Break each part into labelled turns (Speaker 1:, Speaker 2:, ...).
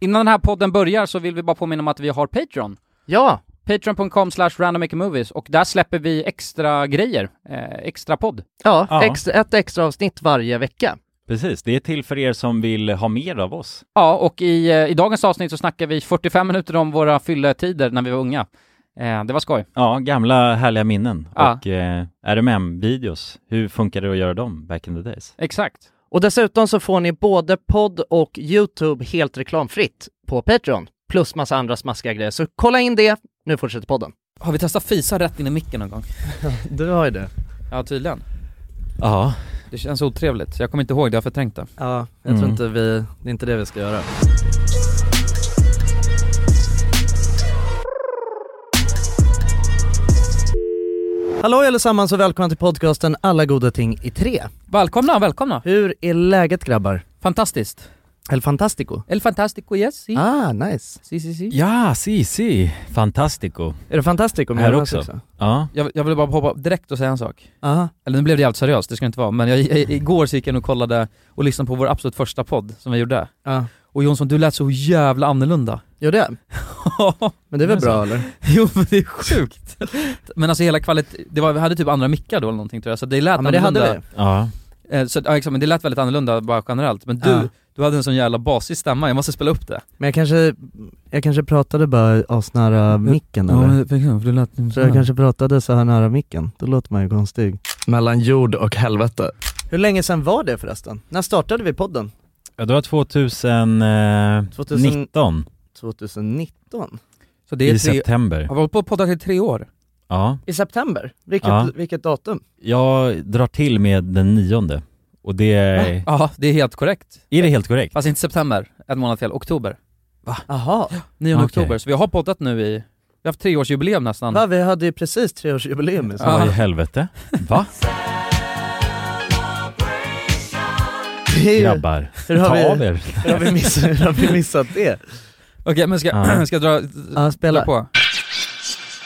Speaker 1: Innan den här podden börjar så vill vi bara påminna om att vi har Patreon.
Speaker 2: Ja,
Speaker 1: Patreon.com slash randommakermovies och där släpper vi extra grejer, eh, extra podd.
Speaker 2: ja,
Speaker 3: Ja.
Speaker 2: Ex, ett extra avsnitt varje vecka.
Speaker 3: Precis, det är till för er som vill ha mer av oss.
Speaker 1: Ja, och i, eh, i dagens avsnitt så snackar vi 45 minuter om våra fylletider när vi var unga. Eh, det var skoj.
Speaker 3: Ja, gamla härliga minnen
Speaker 1: Ja.
Speaker 3: och eh, RMM-videos. Hur funkade det att göra dem back in the days?
Speaker 1: Exakt.
Speaker 2: Och dessutom så får ni både podd och YouTube helt reklamfritt på Patreon, plus massa andra smaskiga grejer. Så kolla in det, nu fortsätter podden.
Speaker 4: Har vi testat fisa rätt in i micken någon gång?
Speaker 2: Du har ju det.
Speaker 4: Ja tydligen.
Speaker 3: Ja.
Speaker 4: Det känns otrevligt, jag kommer inte ihåg det, jag har förträngt det.
Speaker 5: Ja, jag
Speaker 3: Mm.
Speaker 5: tror inte vi, det är inte det vi ska göra.
Speaker 2: Hallå allesammans och välkomna till podcasten Alla goda ting i tre.
Speaker 4: Välkomna, välkomna!
Speaker 2: Hur är läget grabbar?
Speaker 4: Fantastiskt!
Speaker 2: El Fantastico?
Speaker 4: El Fantastico, yes, si.
Speaker 2: Ah, nice.
Speaker 4: Si, si, si.
Speaker 3: Ja, si, si. Fantastico.
Speaker 2: Är det Fantastico med
Speaker 3: Här
Speaker 2: oss
Speaker 3: också. Ja.
Speaker 4: Jag, jag vill bara hoppa direkt och säga en sak.
Speaker 2: Aha.
Speaker 4: Eller nu blev det jävligt seriöst, det ska det inte vara, men jag,
Speaker 2: Mm.
Speaker 4: i- igår så gick jag in och kollade och lyssnade på vår absolut första podd som vi gjorde.
Speaker 2: Ja.
Speaker 4: Och Jonsson, du lät så jävla annorlunda.
Speaker 2: Jo det, men det är väl
Speaker 4: Men så-
Speaker 2: bra eller?
Speaker 4: jo men det är sjukt. Men alltså hela kvalitet, det var, vi hade typ andra mickar då eller någonting tror jag, så det lät
Speaker 2: Ja men det hade
Speaker 4: annorlunda.
Speaker 2: vi.
Speaker 3: Ja.
Speaker 4: Eh, Så, ja, exakt, men det lät väldigt annorlunda bara generellt, men du,
Speaker 2: Ja.
Speaker 4: du hade en sån jävla basig stämma, jag måste spela upp det.
Speaker 2: Men jag kanske, jag kanske pratade bara asnära micken eller?
Speaker 4: för du lät
Speaker 2: Så jag kanske pratade så här nära micken, då låter man ju konstig.
Speaker 5: Mellan jord och helvete.
Speaker 2: Hur länge sedan var det förresten? När startade vi podden?
Speaker 3: ja, det var eh, 2019
Speaker 2: 2019. 2019?
Speaker 4: Så det är
Speaker 3: i
Speaker 4: tre,
Speaker 3: september.
Speaker 4: har vi hållit på och poddat i tre år?
Speaker 3: Ja.
Speaker 2: I september? Vilket,
Speaker 3: Ja.
Speaker 2: vilket datum?
Speaker 3: Jag drar till med den nionde. Och det är...
Speaker 4: Ja, det är helt korrekt.
Speaker 3: Är det helt korrekt?
Speaker 4: Fast inte september, en månad fel, oktober.
Speaker 2: Aha.
Speaker 4: 9
Speaker 3: Okej.
Speaker 4: oktober, så vi har poddat nu i, vi har haft treårsjubileum nästan.
Speaker 2: Va, vi hade ju precis treårsjubileum i sommar.
Speaker 3: Vad i helvete? Va?
Speaker 2: Det är ju-
Speaker 3: Grabbar,
Speaker 2: Hur har,
Speaker 3: ta av
Speaker 2: vi,
Speaker 3: er.
Speaker 2: hur, har vi miss, hur har vi missat det?
Speaker 4: Okej men ska,
Speaker 3: Ja.
Speaker 4: ska jag dra,
Speaker 2: Ja,
Speaker 4: dra
Speaker 2: spela.
Speaker 4: på?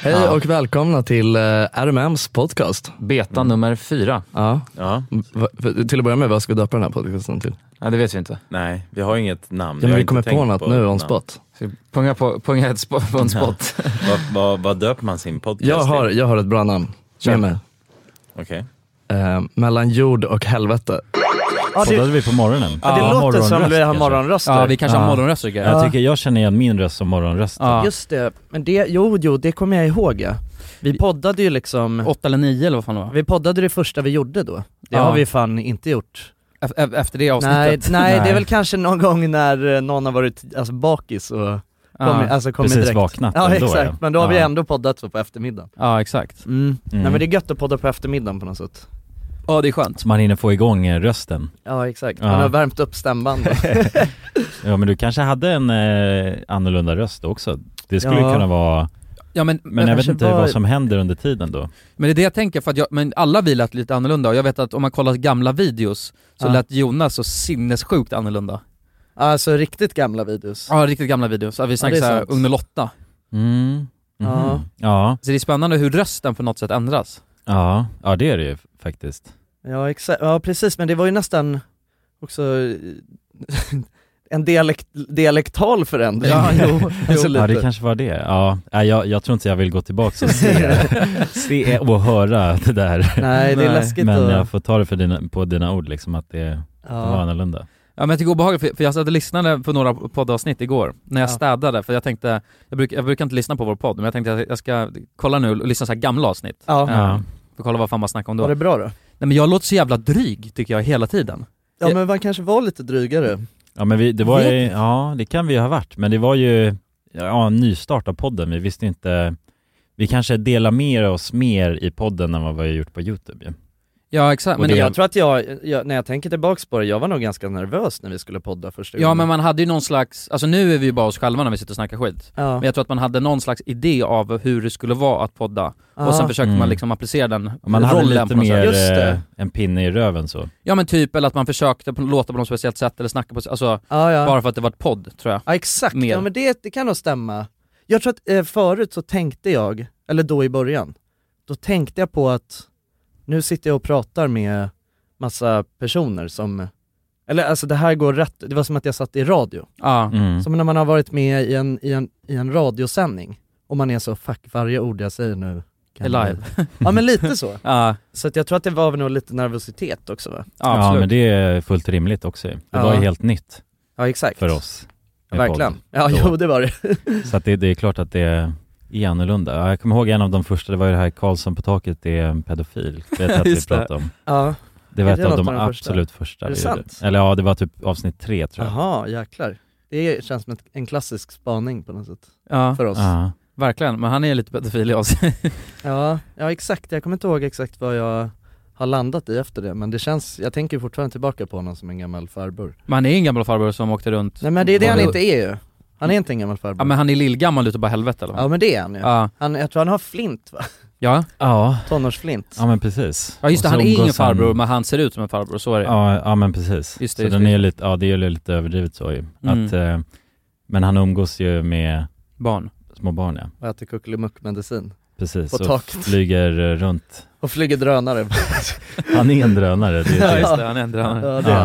Speaker 5: Hej
Speaker 6: Ja.
Speaker 5: och välkomna till eh, RMMs podcast.
Speaker 6: Beta nummer fyra.
Speaker 5: Ja.
Speaker 7: Ja,
Speaker 5: Va, för- till att börja med, vad ska vi döpa den här podcasten till?
Speaker 6: Ja, det vet vi inte.
Speaker 7: nej, vi har inget namn.
Speaker 5: Ja,
Speaker 7: Jag
Speaker 5: men
Speaker 7: har
Speaker 5: vi
Speaker 7: inte
Speaker 5: kommer på
Speaker 7: tänkt
Speaker 5: något nu on
Speaker 7: namn.
Speaker 5: spot.
Speaker 6: Så punga på, punga ett spot, på en spot.
Speaker 7: Vad, vad, vad döper man sin podcast
Speaker 5: Jag har,
Speaker 7: till?
Speaker 5: jag har ett bra namn.
Speaker 6: Kör.
Speaker 5: Med mig.
Speaker 7: Okej.
Speaker 5: Eh, mellan jord och helvete.
Speaker 2: Ja, det,
Speaker 3: Poddade vi på morgonen?
Speaker 2: ja, det låter som vi har
Speaker 3: kanske.
Speaker 2: morgonröster.
Speaker 4: Ja vi kanske har
Speaker 3: Ja.
Speaker 4: morgonröster och grejer.
Speaker 3: Jag tycker jag känner igen min röst som morgonrösten.
Speaker 4: Ja.
Speaker 2: Just det, men det, jo, jo, det kommer jag ihåg ja. Vi poddade ju liksom,
Speaker 4: Åtta eller nio eller vad fan det var?
Speaker 2: vi poddade det första vi gjorde då. Det
Speaker 4: Ja.
Speaker 2: har vi fan inte gjort.
Speaker 4: E- e- Efter det
Speaker 2: Nej,
Speaker 4: avsnittet.
Speaker 2: nej, det
Speaker 3: Nej.
Speaker 2: är väl kanske någon gång när eh, någon har varit alltså, bakis och
Speaker 4: Ja,
Speaker 2: kommit, alltså, kommit
Speaker 3: Precis
Speaker 2: direkt.
Speaker 3: vaknat
Speaker 2: Ja
Speaker 3: ändå,
Speaker 2: exakt,
Speaker 3: ja.
Speaker 2: men då har vi
Speaker 3: Ja.
Speaker 2: ändå poddat så på eftermiddagen.
Speaker 4: ja exakt.
Speaker 3: Mm.
Speaker 2: Nej men det är gött att podda på eftermiddagen på något sätt.
Speaker 4: Ja det är skönt.
Speaker 3: Så man hinner få igång eh, rösten.
Speaker 2: Ja exakt,
Speaker 3: Ja.
Speaker 2: man har värmt upp stämbanden.
Speaker 3: Ja men du kanske hade en eh, annorlunda röst också? Det skulle
Speaker 2: Ja.
Speaker 3: kunna vara,
Speaker 4: Ja men, men,
Speaker 3: men jag vet
Speaker 2: kanske
Speaker 3: inte
Speaker 2: var-
Speaker 3: vad som händer under tiden då.
Speaker 4: det är det jag tänker för att jag, men alla vi lät lite annorlunda och jag vet att om man kollar gamla videos så
Speaker 2: Ja.
Speaker 4: lät Jonas så sinnessjukt annorlunda.
Speaker 2: alltså riktigt gamla videos.
Speaker 4: Ja riktigt gamla videos, Ja, vi snackar
Speaker 2: det är
Speaker 4: såhär
Speaker 2: sant.
Speaker 4: Ung och Lotta.
Speaker 3: Mm. Mhm.
Speaker 2: Ja.
Speaker 3: ja,
Speaker 4: Så det är spännande hur rösten på något sätt ändras.
Speaker 3: ja, ja det är det ju faktiskt.
Speaker 2: Ja exakt, ja precis men det var ju nästan också eh, en dialekt, dialektal förändring.
Speaker 4: Ja, jo,
Speaker 3: Ja
Speaker 2: Alltså lite.
Speaker 3: det kanske var det, ja. Nej, jag, jag tror inte jag vill gå tillbaka och se, se och höra det där.
Speaker 2: Nej det är
Speaker 4: Nej,
Speaker 2: läskigt
Speaker 3: Men
Speaker 2: att...
Speaker 3: jag får ta det för dina, på dina ord liksom att det var
Speaker 2: Ja.
Speaker 3: annorlunda.
Speaker 4: Ja men jag tycker obehagligt, för- för jag satt och lyssnade på några poddavsnitt igår, när jag
Speaker 2: Ja.
Speaker 4: städade, för jag tänkte, jag, bruk, jag brukar inte lyssna på vår podd, men jag tänkte att jag ska kolla nu och lyssna så här gamla avsnitt,
Speaker 2: Ja.
Speaker 3: Ja.
Speaker 4: för att kolla vad fan man snackar om då.
Speaker 2: Var det bra då?
Speaker 4: Nej men jag låter så jävla dryg tycker jag hela tiden.
Speaker 2: Ja men man kanske var lite drygare.
Speaker 3: Ja men vi, det var
Speaker 4: Vet
Speaker 3: ju, ja det kan vi ju ha varit, men det var ju ja, en nystart av podden, vi visste inte Vi kanske delar med oss mer i podden än vad vi har gjort på youtube ju.
Speaker 4: Ja exakt, men,
Speaker 2: Men
Speaker 4: det,
Speaker 2: jag tror att jag, jag, när jag tänker tillbaks på det, jag var nog ganska nervös när vi skulle podda första
Speaker 4: ja
Speaker 2: gången.
Speaker 4: men man hade ju någon slags, alltså nu är vi ju bara oss själva när vi sitter och snackar skit.
Speaker 2: Ja.
Speaker 4: Men jag tror att man hade någon slags idé av hur det skulle vara att podda, och
Speaker 2: Ah.
Speaker 4: sen försökte
Speaker 3: Mm.
Speaker 4: man liksom applicera den
Speaker 3: Man hade
Speaker 4: rollen
Speaker 3: lite
Speaker 4: på något
Speaker 3: mer
Speaker 4: sätt.
Speaker 2: Just det.
Speaker 3: eh, en pinne i röven så
Speaker 4: Ja men typ, eller att man försökte på, låta på något speciellt sätt eller snacka på, alltså
Speaker 2: ja, ja.
Speaker 4: bara för att det var ett podd tror jag.
Speaker 2: Ja exakt,
Speaker 4: Mer.
Speaker 2: ja men det, det kan nog stämma. Jag tror att eh, förut så tänkte jag, eller då i början, då tänkte jag på att nu sitter jag och pratar med massa personer som Eller alltså det här går rätt, det var som att jag satt i radio.
Speaker 1: Ja.
Speaker 3: Mm.
Speaker 2: Som när man har varit med i en, i en, i en radiosändning och man är så 'fuck varje ord jag säger nu' kan
Speaker 1: Är live.
Speaker 2: bli-" Ja men lite så.
Speaker 1: Ja,
Speaker 2: Så att jag tror att det var väl nog lite nervositet också va?
Speaker 1: ja,
Speaker 3: ja,
Speaker 1: absolut.
Speaker 3: men det är fullt rimligt också. Det var
Speaker 2: Ja.
Speaker 3: ju helt nytt
Speaker 2: Ja exakt.
Speaker 3: för oss. med
Speaker 2: Verkligen.
Speaker 3: podd.
Speaker 2: Ja
Speaker 3: Då.
Speaker 2: jo det var det.
Speaker 3: Så att det, det är klart att det är annorlunda. Ja, Jag kommer ihåg en av de första, det var ju det här Karlsson på taket är en pedofil. Det vet jag att vi
Speaker 1: Just det.
Speaker 3: pratade om.
Speaker 2: Ja.
Speaker 3: Det var
Speaker 2: Är
Speaker 3: ett
Speaker 2: det
Speaker 3: av
Speaker 2: något
Speaker 3: de
Speaker 2: av de första?
Speaker 3: absolut första
Speaker 2: Är
Speaker 3: vi
Speaker 2: det
Speaker 3: gjorde.
Speaker 2: sant?
Speaker 3: Eller ja, det var typ avsnitt tre tror jag.
Speaker 2: Jaha, jäklar. Det känns som ett, en klassisk spaning på något sätt
Speaker 1: Ja,
Speaker 2: för oss.
Speaker 3: Ja.
Speaker 1: verkligen. Men han är lite pedofil i oss.
Speaker 2: Ja, ja exakt. Jag kommer inte ihåg exakt vad jag har landat i efter det, men det känns, jag tänker fortfarande tillbaka på honom som en gammal farbror.
Speaker 1: Men han är ju en gammal farbror som åkte runt.
Speaker 2: Nej men det är det
Speaker 1: Ja,
Speaker 2: han
Speaker 1: det-
Speaker 2: inte är ju. Han är inte en gammal farbror.
Speaker 1: Ja men han är lillgammal utav bara helvete eller?
Speaker 2: Ja, men det är han ju.
Speaker 1: Ja.
Speaker 2: Han, jag tror han har flint va?
Speaker 1: Ja.
Speaker 3: Ja.
Speaker 2: Tonårsflint.
Speaker 3: ja, men precis.
Speaker 1: ja, just det.
Speaker 3: Och så
Speaker 1: Han är ingen
Speaker 3: umgås
Speaker 1: farbror men han ser ut som en farbror, så är det.
Speaker 3: Ja, ja men precis.
Speaker 1: Just det,
Speaker 3: så
Speaker 1: just
Speaker 3: den
Speaker 1: det.
Speaker 3: är ju lite, ja det är ju lite överdrivet så ju.
Speaker 1: Mm.
Speaker 3: Att, eh, men han umgås ju med
Speaker 1: Barn.
Speaker 3: små barn ja.
Speaker 2: Och äter kuckelimuckmedicin.
Speaker 3: Precis,
Speaker 2: På
Speaker 3: och
Speaker 2: taket.
Speaker 3: flyger eh, runt.
Speaker 2: Och flyger drönare.
Speaker 3: Han är en drönare, det är det.
Speaker 2: Ja.
Speaker 1: Just det, han ändrar han.
Speaker 2: Ja, det-
Speaker 3: Ja.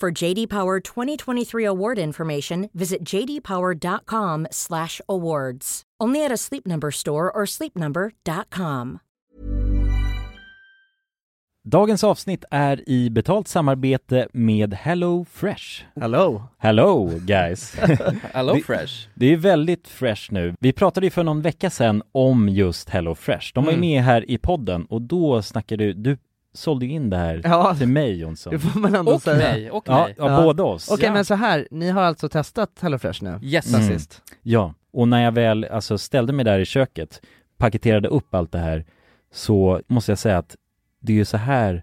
Speaker 8: For JD Power 2023 award information, visit jdpower.com/awards. Only at a Sleep Number store or sleepnumber.com.
Speaker 3: Dagens avsnitt är i betalt samarbete med Hello Fresh.
Speaker 2: Hello.
Speaker 3: Hello guys!
Speaker 6: Hello
Speaker 3: Det-
Speaker 6: Fresh.
Speaker 3: Det är väldigt fresh nu. Vi pratade ju för någon vecka sedan om just Hello Fresh. De var ju
Speaker 6: Mm.
Speaker 3: med här i podden och då snackade du, du sålde ju in det här
Speaker 2: Ja,
Speaker 3: till mig Jonsson.
Speaker 2: det får man ändå
Speaker 1: Och
Speaker 2: säga.
Speaker 1: mig, och
Speaker 3: Ja,
Speaker 1: mig.
Speaker 3: ja,
Speaker 2: Ja.
Speaker 3: båda oss.
Speaker 2: Okej
Speaker 1: Ja.
Speaker 2: men så här, ni har alltså testat HelloFresh nu?
Speaker 1: Yes.
Speaker 3: Mm.
Speaker 2: Sist.
Speaker 3: Ja, och när jag väl alltså, ställde mig där i köket, paketerade upp allt det här, så måste jag säga att det är ju så här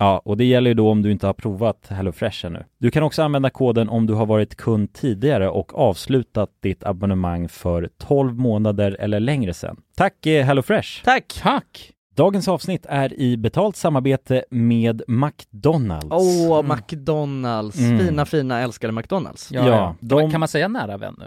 Speaker 3: Ja, och det gäller ju då om du inte har provat HelloFresh ännu. Du kan också använda koden om du har varit kund tidigare och avslutat ditt abonnemang för 12 månader eller längre sedan. Tack eh, HelloFresh!
Speaker 2: Tack!
Speaker 1: Tack!
Speaker 3: Dagens avsnitt är i betalt samarbete med McDonalds.
Speaker 2: Åh, McDonalds.
Speaker 3: Mm.
Speaker 2: Fina, fina, älskade McDonalds.
Speaker 1: Ja,
Speaker 3: Ja,
Speaker 1: ja. Kan, man,
Speaker 3: de-
Speaker 1: kan man säga nära vän nu?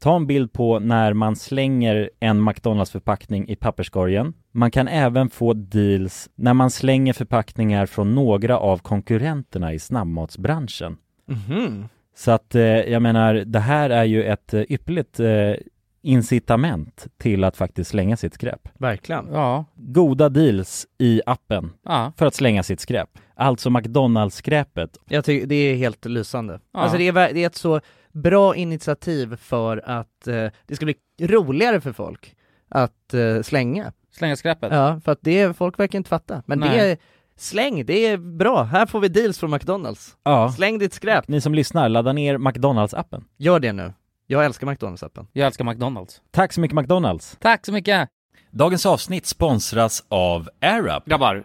Speaker 3: ta en bild på när man slänger en McDonalds-förpackning i papperskorgen. Man kan även få deals när man slänger förpackningar från några av konkurrenterna i snabbmatsbranschen.
Speaker 2: Mhm.
Speaker 3: Så att eh, jag menar, det här är ju ett eh, ypperligt eh, incitament till att faktiskt slänga sitt skräp.
Speaker 2: Verkligen.
Speaker 1: Ja.
Speaker 3: Goda deals i appen
Speaker 1: Ja.
Speaker 3: för att slänga sitt skräp. Alltså McDonalds-skräpet.
Speaker 2: Jag tycker det är helt lysande.
Speaker 3: Ja.
Speaker 2: Alltså det är, ver- det är ett så bra initiativ för att eh, det ska bli roligare för folk att eh, slänga.
Speaker 1: Slänga skräpet?
Speaker 2: Ja, för att det, folk verkar inte fatta. Men det
Speaker 3: Nej.
Speaker 2: är, släng, det är bra. Här får vi deals från McDonalds.
Speaker 3: Ja.
Speaker 2: Släng ditt skräp.
Speaker 3: Ni som lyssnar, ladda ner McDonalds-appen.
Speaker 2: Gör det nu. Jag älskar McDonalds-appen.
Speaker 1: Jag älskar McDonalds.
Speaker 3: Tack så mycket McDonalds.
Speaker 1: Tack så mycket!
Speaker 7: Dagens avsnitt sponsras av AirUp.
Speaker 9: Grabbar,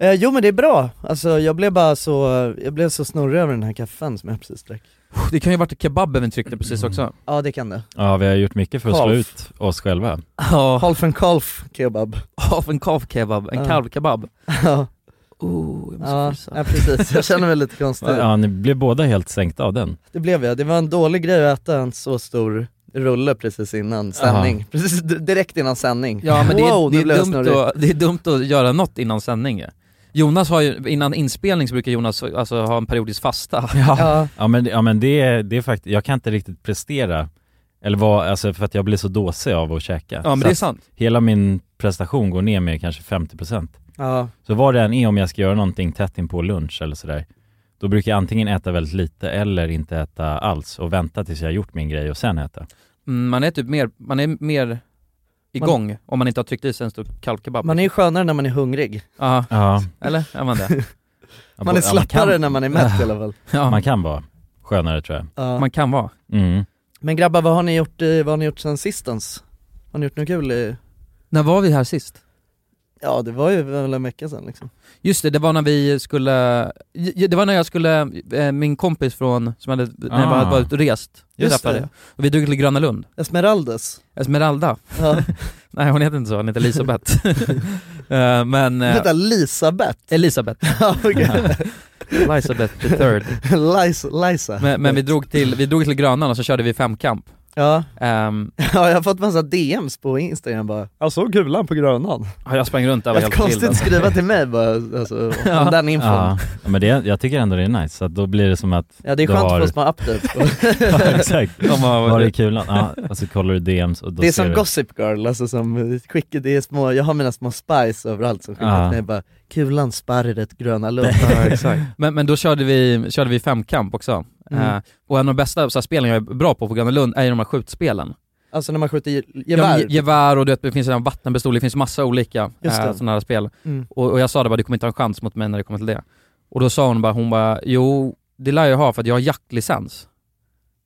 Speaker 4: du?
Speaker 2: Eh, jo men det är bra. Alltså jag blev bara så, jag blev så snorrig över den här kaffen som jag precis drack.
Speaker 4: Det kan ju ha varit kebaben vi tryckte precis också.
Speaker 2: Ja det kan det.
Speaker 3: Ja, vi har gjort mycket
Speaker 2: för att slå Kalv.
Speaker 3: ut oss själva.
Speaker 4: Ja.
Speaker 2: Half and calf kebab.
Speaker 4: Half and calf kebab, en
Speaker 2: Ja.
Speaker 4: kalv kebab.
Speaker 2: Ja.
Speaker 4: Oh, jag måste
Speaker 2: Ja,
Speaker 4: frysa.
Speaker 2: ja precis, jag känner mig lite konstig.
Speaker 3: ni blev båda helt sänkta av den.
Speaker 2: Det blev jag, det var en dålig grej att äta en så stor rulle precis innan sändning.
Speaker 4: Aha.
Speaker 2: Precis d- direkt innan sändning.
Speaker 4: Ja men det är,
Speaker 2: Wow, nu
Speaker 4: det,
Speaker 2: blev
Speaker 4: är
Speaker 2: jag
Speaker 4: dumt
Speaker 2: snurrig.
Speaker 4: att, det är dumt att göra något innan sändning ju. Jonas har ju, innan inspelning så brukar Jonas alltså ha en periodisk fasta.
Speaker 2: Ja.
Speaker 3: Ja men, ja, men det, är- det är faktiskt, jag kan inte riktigt prestera. Eller vad, alltså för att jag blir så dåsig av att käka.
Speaker 4: Ja, men
Speaker 3: så
Speaker 4: det är
Speaker 3: att
Speaker 4: sant.
Speaker 3: Hela min prestation går ner med kanske 50%.
Speaker 2: Ja.
Speaker 3: Så vad det än är om jag ska göra någonting tätt in på lunch eller sådär, då brukar jag antingen äta väldigt lite eller inte äta alls och vänta tills jag har gjort min grej och sen äta.
Speaker 4: Mm, man är typ mer, man är mer igång om man inte har tryckt i sig en stor kalvkebab.
Speaker 2: Man är ju skönare när man är hungrig.
Speaker 4: Ja.
Speaker 3: Ja.
Speaker 4: Eller? Är man det?
Speaker 2: Man är slappare när man är mätt i alla fall.
Speaker 4: Ja.
Speaker 3: Man kan vara skönare tror jag.
Speaker 2: Ja.
Speaker 4: Man kan vara.
Speaker 3: Mm.
Speaker 2: Men grabbar, vad har ni gjort, eh, vad har ni gjort sen sistens? Har ni gjort något kul? i-
Speaker 4: När var vi här sist?
Speaker 2: Ja det var ju väl en vecka sen liksom.
Speaker 4: Just det, det var när vi skulle, j- det var när jag skulle, eh, min kompis från, som hade, när jag
Speaker 2: Ah.
Speaker 4: var- var ute och rest, jag
Speaker 2: Just
Speaker 4: träffade.
Speaker 2: det.
Speaker 4: Och vi drog till Gröna Lund.
Speaker 2: Esmeraldas.
Speaker 4: Esmeralda.
Speaker 2: Ja.
Speaker 4: Nej hon heter inte så, hon heter Elisabeth. Eh, men... eh,
Speaker 2: Vänta, Lisabeth?
Speaker 4: Elisabeth.
Speaker 2: Ja, okej.
Speaker 4: Elisabeth the third.
Speaker 2: Lis- Lisa.
Speaker 4: Men, men vi, drog till, vi drog till Grönan och så körde vi femkamp.
Speaker 2: Ja.
Speaker 4: Ehm,
Speaker 2: Ja, jag har fått massa DMs på Instagram bara, jag såg kulan på Grönan.
Speaker 4: ja, jag sprang runt där och var
Speaker 2: Ett
Speaker 4: helt vild,
Speaker 2: konstigt
Speaker 4: alltså.
Speaker 2: skriva till mig bara, alltså, om
Speaker 4: Ja.
Speaker 2: den infon.
Speaker 3: Ja,
Speaker 2: Ja.
Speaker 3: men det, jag tycker ändå det är nice, att då blir det som att
Speaker 2: det är
Speaker 3: du
Speaker 2: skönt
Speaker 3: har...
Speaker 2: att få små updates. på.
Speaker 3: Ja, exakt.
Speaker 4: De har-
Speaker 3: Var är kulan? Ja, och så kollar du DMs och då
Speaker 2: det är
Speaker 3: ser
Speaker 2: som
Speaker 3: du...
Speaker 2: Gossip Girl, alltså som skickar, det är små, jag har mina små spies överallt som skickar
Speaker 3: Ja.
Speaker 2: till mig bara, kulan sparret gröna lund.
Speaker 4: Men, men då körde vi, körde vi femkamp också.
Speaker 2: Mm.
Speaker 4: Eh, och en av de bästa så här, spelen jag är bra på på Gröna Lund är ju de här skjutspelen.
Speaker 2: Alltså när man skjuter ge-
Speaker 4: Ja,
Speaker 2: gevär.
Speaker 4: men ge- gevär och du vet, det finns en vattenpistol, det finns massa olika
Speaker 2: Just det.
Speaker 4: sådana här spel.
Speaker 2: Mm.
Speaker 4: Och, och jag sa det bara, du kommer inte ha en chans mot mig när det kommer till det. Och då sa hon bara, hon bara, jo det lär jag ha för att jag har jaktlicens.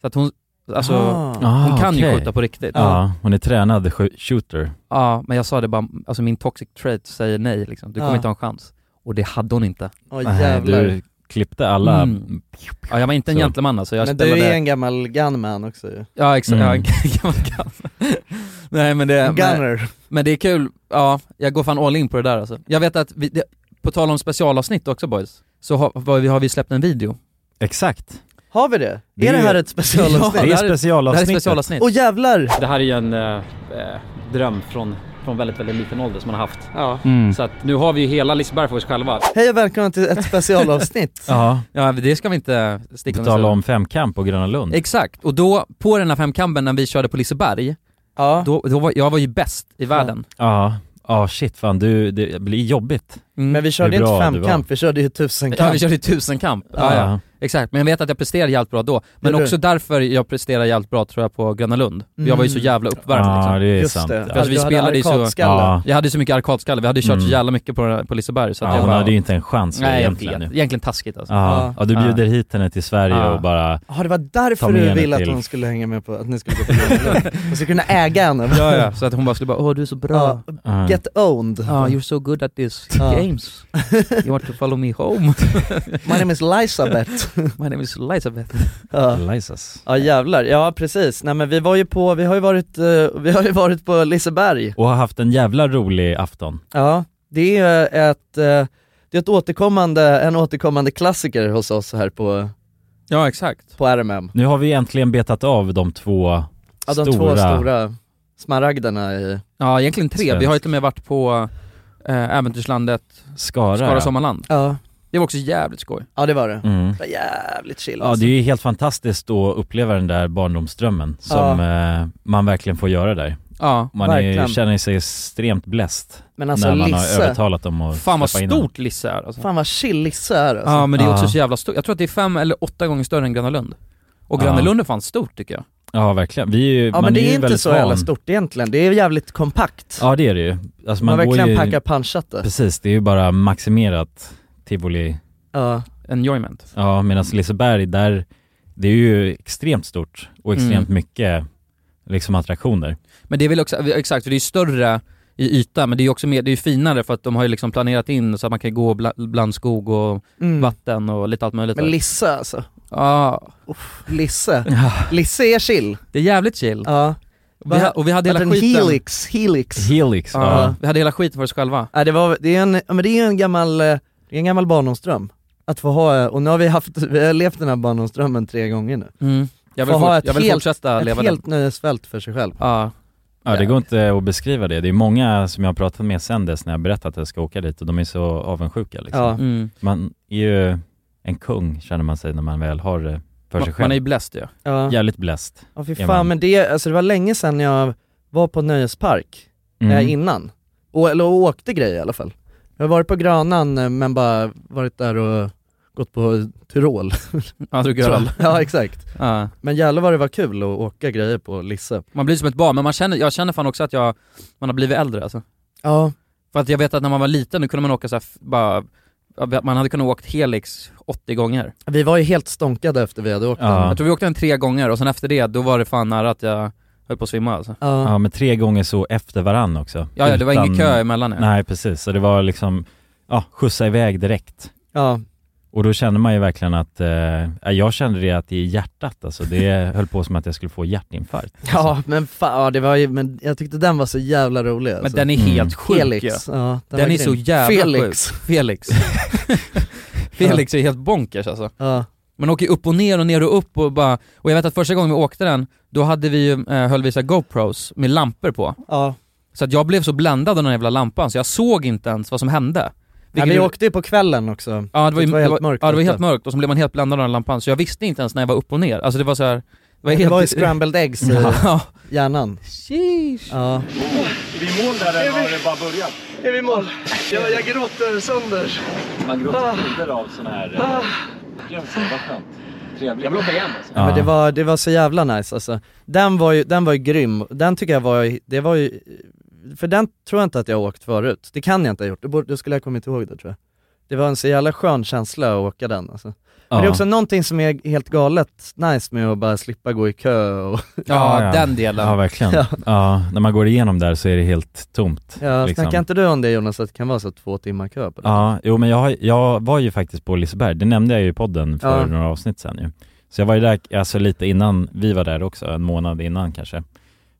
Speaker 4: Så att hon, alltså
Speaker 2: Ah.
Speaker 4: hon
Speaker 3: Ah,
Speaker 4: kan ju
Speaker 3: okej.
Speaker 4: skjuta på riktigt.
Speaker 3: Ja, hon är tränad sk- shooter.
Speaker 4: Ja, men jag sa det bara, alltså min toxic trait säger nej liksom, du kommer
Speaker 2: Ja.
Speaker 4: inte ha en chans. Och det hade hon inte.
Speaker 2: Åh,
Speaker 3: Nej,
Speaker 2: jävlar.
Speaker 3: du klippte alla...
Speaker 4: Mm. Ja, jag var inte en
Speaker 3: Så.
Speaker 4: gentleman alltså, jag
Speaker 2: men
Speaker 4: spelade...
Speaker 2: du är en gammal gunman också ju.
Speaker 4: Ja exakt,
Speaker 3: Mm.
Speaker 4: ja, en gammal gun. Nej men det, men,
Speaker 2: Gunner.
Speaker 4: men det är kul, ja, jag går fan all in på det där alltså. Jag vet att, vi, det, på tal om specialavsnitt också boys, så har, var, vi- har vi släppt en video.
Speaker 3: Exakt.
Speaker 2: Har vi det?
Speaker 3: Det
Speaker 2: är det
Speaker 3: är-
Speaker 2: här ett specialavsnitt?
Speaker 4: Ja,
Speaker 3: det
Speaker 4: det
Speaker 3: är
Speaker 4: här är- Det här är
Speaker 3: specialavsnittet.
Speaker 4: specialavsnitt.
Speaker 2: Åh jävlar!
Speaker 6: Det här är ju en eh, eh, dröm från, från väldigt, väldigt liten ålder som man har haft.
Speaker 10: Ja.
Speaker 4: Mm.
Speaker 6: Så att nu har vi ju hela Liseberg för oss själva.
Speaker 2: Hej och välkomna till ett specialavsnitt.
Speaker 3: Ja,
Speaker 4: Ja det ska vi inte sticka
Speaker 3: på
Speaker 4: under
Speaker 3: tal
Speaker 4: stolen.
Speaker 3: om femkamp och Gröna Lund.
Speaker 4: Exakt, och då på den här femkampen när vi körde på Liseberg,
Speaker 2: ja.
Speaker 4: då, då var, jag var ju bäst i världen.
Speaker 3: Ja, ja shit fan, du, det blir jobbigt.
Speaker 4: Mm.
Speaker 2: Men vi körde
Speaker 3: Hur
Speaker 2: inte
Speaker 3: bra du
Speaker 2: femkamp, vi körde ju tusenkamp.
Speaker 4: Ja vi körde ju tusenkamp, ja, ja.
Speaker 3: Ja.
Speaker 4: exakt. Men jag vet att jag presterade jävligt bra då. Men
Speaker 2: Gjorde du?
Speaker 4: också därför jag presterade jävligt bra tror jag på Gröna Lund. Jag var ju så
Speaker 2: Mm.
Speaker 4: jävla uppvärmd liksom.
Speaker 3: Ja, det är
Speaker 2: Just
Speaker 3: sant.
Speaker 2: det.
Speaker 3: Ja.
Speaker 4: Alltså, vi
Speaker 2: Du hade
Speaker 4: spelade ju så-
Speaker 2: arkadskalle.
Speaker 3: Ah, Ja.
Speaker 4: Jag hade ju så mycket arkadskalle, vi hade ju kört så
Speaker 3: Mm.
Speaker 4: jävla mycket på, på Liseberg så att
Speaker 3: Ja,
Speaker 4: jag
Speaker 3: hon
Speaker 4: bara...
Speaker 3: hade ju inte en chans
Speaker 4: Nej jag
Speaker 3: egentligen.
Speaker 4: vet,
Speaker 3: nu.
Speaker 4: egentligen taskigt alltså.
Speaker 3: Ja, ja, du bjuder hit henne till Sverige
Speaker 4: Ja.
Speaker 3: och bara
Speaker 2: Ja det var
Speaker 3: Ta
Speaker 2: därför
Speaker 3: med
Speaker 2: du
Speaker 3: henne
Speaker 2: ville att
Speaker 3: till-
Speaker 2: hon skulle hänga med på, att ni skulle gå på Gröna Och så kunna äga henne.
Speaker 4: Ja, ja. Så att hon bara skulle bara 'Åh du är så bra'
Speaker 2: Ja,
Speaker 3: Ja.
Speaker 2: Get owned.
Speaker 4: Ah, you're so good at this
Speaker 2: Ja.
Speaker 4: games. You want to follow me home?
Speaker 2: My name is Lisabeth.
Speaker 4: My name is Elizabeth.
Speaker 2: ja.
Speaker 3: Lisas.
Speaker 2: ja jävlar, ja precis. Nej men vi var ju på, vi har ju varit, eh, vi har ju varit på Liseberg.
Speaker 3: Och har haft en jävla rolig afton.
Speaker 2: Ja, det är eh, ett, eh, det är ett återkommande, en återkommande klassiker hos oss här på,
Speaker 4: Ja exakt.
Speaker 2: på RMM.
Speaker 3: Nu har vi äntligen betat av de två
Speaker 2: Ja,
Speaker 3: stora...
Speaker 2: de två stora smaragderna i,
Speaker 4: Ja egentligen tre, vi har ju till och med varit på eh, Äventyrslandet,
Speaker 3: Skara.
Speaker 4: Skara Sommarland.
Speaker 2: ja,
Speaker 4: Det var också jävligt skoj.
Speaker 2: ja det var det.
Speaker 3: Mm.
Speaker 2: Det var jävligt chill
Speaker 3: Ja, det är ju helt fantastiskt att uppleva den där barndomsdrömmen som eh, man verkligen får göra där.
Speaker 4: Ja.
Speaker 3: Man är,
Speaker 2: Verkligen.
Speaker 3: känner sig extremt bläst
Speaker 2: Men alltså
Speaker 3: när man har
Speaker 2: Lisse,
Speaker 3: övertalat dem att
Speaker 4: Fan vad
Speaker 3: släppa in den.
Speaker 4: stort Lisse är alltså.
Speaker 2: fan vad chill Lisse är alltså.
Speaker 4: Ja men det är också
Speaker 3: Ja.
Speaker 4: så jävla stort. Jag tror att det är fem eller åtta gånger större än Gröna Lund. Och Gröna
Speaker 3: Ja.
Speaker 4: Lund är fan stort tycker jag.
Speaker 3: Ja, verkligen. Vi är ju,
Speaker 2: Ja
Speaker 3: man
Speaker 2: men
Speaker 3: är
Speaker 2: det
Speaker 3: ju
Speaker 2: är inte
Speaker 3: väldigt
Speaker 2: så
Speaker 3: van.
Speaker 2: jävla stort egentligen, det är jävligt kompakt.
Speaker 3: Ja, det är det ju. Alltså,
Speaker 2: man har
Speaker 3: man går
Speaker 2: verkligen
Speaker 3: ju...
Speaker 2: packat punchat det.
Speaker 3: Precis, det är ju bara maximerat tivoli.
Speaker 2: Ja.
Speaker 4: Enjoyment.
Speaker 3: Ja, medan Liseberg där, det är ju extremt stort och extremt
Speaker 4: Mm.
Speaker 3: mycket liksom attraktioner.
Speaker 4: Men det är väl också, eh, exakt, för det är ju större i yta men det är ju också mer, det är ju finare för att de har ju liksom planerat in så att man kan gå bla- bland skog och
Speaker 2: Mm.
Speaker 4: vatten och lite allt möjligt.
Speaker 2: Men Lisse alltså,
Speaker 4: ja,
Speaker 2: Lisse. Lisse är chill.
Speaker 4: det är jävligt chill.
Speaker 2: Ja.
Speaker 4: Vi ha, och vi hade hela
Speaker 2: Att en
Speaker 4: skiten,
Speaker 2: helix, helix.
Speaker 3: Helix,
Speaker 4: ja,
Speaker 3: ja.
Speaker 4: vi hade hela skiten för oss själva.
Speaker 2: Ja, det, var, det, är en, ja, men det är en gammal, eh, det är en gammal barndomsdröm. Att få ha, eh, och nu har vi haft, vi har levt den här barndomsdrömmen tre gånger nu.
Speaker 4: Mm. Jag vill,
Speaker 2: Få ha
Speaker 4: fort,
Speaker 2: ett
Speaker 4: jag vill
Speaker 2: helt-
Speaker 4: fortsätta
Speaker 2: Ett
Speaker 4: leva
Speaker 2: helt
Speaker 4: den.
Speaker 2: nöjesfält för sig själv.
Speaker 4: Ja.
Speaker 3: ja. det går inte att beskriva det. Det är många som jag har pratat med sen dess när jag berättat att jag ska åka dit och de är så avundsjuka liksom.
Speaker 2: Ja.
Speaker 4: Mm.
Speaker 3: Man är ju en kung känner man sig när man väl har det för sig
Speaker 4: Man,
Speaker 3: själv.
Speaker 4: man är ju blessed ja.
Speaker 2: Ja, ja.
Speaker 3: Jävligt bläst.
Speaker 2: fy
Speaker 3: är
Speaker 2: fan
Speaker 3: man.
Speaker 2: men det, alltså det var länge sedan jag var på nöjespark,
Speaker 3: Mm.
Speaker 2: eh, innan. Och, eller åkte grejer i alla fall. Jag har varit på Grönan eh, men bara varit där och gått på Tyrol.
Speaker 4: Ja, du girl.
Speaker 2: ja exakt.
Speaker 4: Ja.
Speaker 2: Men jävlar vad det var kul att åka grejer på Lisse.
Speaker 4: Man blir som ett barn men man känner, jag känner fan också att jag, man har blivit äldre alltså.
Speaker 2: Ja,
Speaker 4: För att jag vet att när man var liten då kunde man åka så här, f- bara, man hade kunnat åkt Helix 80 gånger.
Speaker 2: vi var ju helt stånkade efter vi hade åkt
Speaker 3: Ja.
Speaker 2: den.
Speaker 4: Jag tror vi åkte den tre gånger och sen efter det, då var det fan nära att jag höll på att svimma alltså.
Speaker 2: Ja.
Speaker 3: Ja, men tre gånger så efter varann också.
Speaker 4: Ja, ja det var
Speaker 3: Utan-
Speaker 4: ingen kö emellan ja.
Speaker 3: Nej, precis. Så det var liksom, ja, skjutsa iväg direkt.
Speaker 2: Ja,
Speaker 3: Och då kände man ju verkligen att, eh, jag kände det att i hjärtat alltså, det höll på som att jag skulle få hjärtinfarkt. Alltså.
Speaker 2: ja men fan, ja, det var ju, men jag tyckte den var så jävla rolig alltså.
Speaker 4: Men den är
Speaker 3: Mm.
Speaker 4: helt sjuk
Speaker 2: Felix,
Speaker 4: ju.
Speaker 2: ja,
Speaker 4: Den,
Speaker 2: var
Speaker 4: är så
Speaker 2: grym.
Speaker 4: jävla
Speaker 2: Felix.
Speaker 4: sjuk. Felix. Felix är helt bonkers alltså.
Speaker 2: Ja.
Speaker 4: Man åker ju upp och ner och ner och upp och bara, och jag vet att första gången vi åkte den, då hade vi ju, eh, höll vi så här GoPros med lampor på.
Speaker 2: Ja.
Speaker 4: Så att jag blev så bländad av den här jävla lampan så jag såg inte ens vad som hände.
Speaker 2: Nej, vi åkte ju på kvällen också.
Speaker 4: Ja det var, ju,
Speaker 2: helt mörkt.
Speaker 4: Ja det var
Speaker 2: ute.
Speaker 4: helt mörkt och så blev man helt bländad av den lampan så jag visste inte ens när jag var upp och ner. Alltså det var så här,
Speaker 2: Det var, ju scrambled eggs i
Speaker 4: Ja.
Speaker 2: hjärnan. Ja.
Speaker 11: Är vi i mål där eller har det bara börjat? Är vi i mål? Jag, jag gråter sönder. Man
Speaker 2: Ah.
Speaker 11: gråter sönder av sån här... eh, Jösses vad skönt. Trevligt. Jag vill åka hem alltså.
Speaker 2: Ja, men det, var, det var så jävla nice alltså. Den var ju, den var ju grym, den tycker jag var, det var ju, för den tror jag inte att jag har åkt förut. Det kan jag inte ha gjort, då, borde, då skulle jag kommit ihåg det tror jag. Det var en så jävla skön känsla att åka den alltså. Men det är
Speaker 4: Ja.
Speaker 2: också någonting som är helt galet nice med att bara slippa gå i kö och...
Speaker 3: Ja, verkligen.
Speaker 2: Ja.
Speaker 3: Ja. när man går igenom där så är det helt tomt.
Speaker 2: Ja,
Speaker 3: liksom.
Speaker 2: snackar inte du om det Jonas, att det kan vara så två timmar kö på det?
Speaker 3: Ja, jo men jag, har- jag var ju faktiskt på Liseberg, det nämnde jag ju i podden för
Speaker 2: Ja.
Speaker 3: några avsnitt sedan ju. Så jag var ju där, alltså lite innan vi var där också, en månad innan kanske.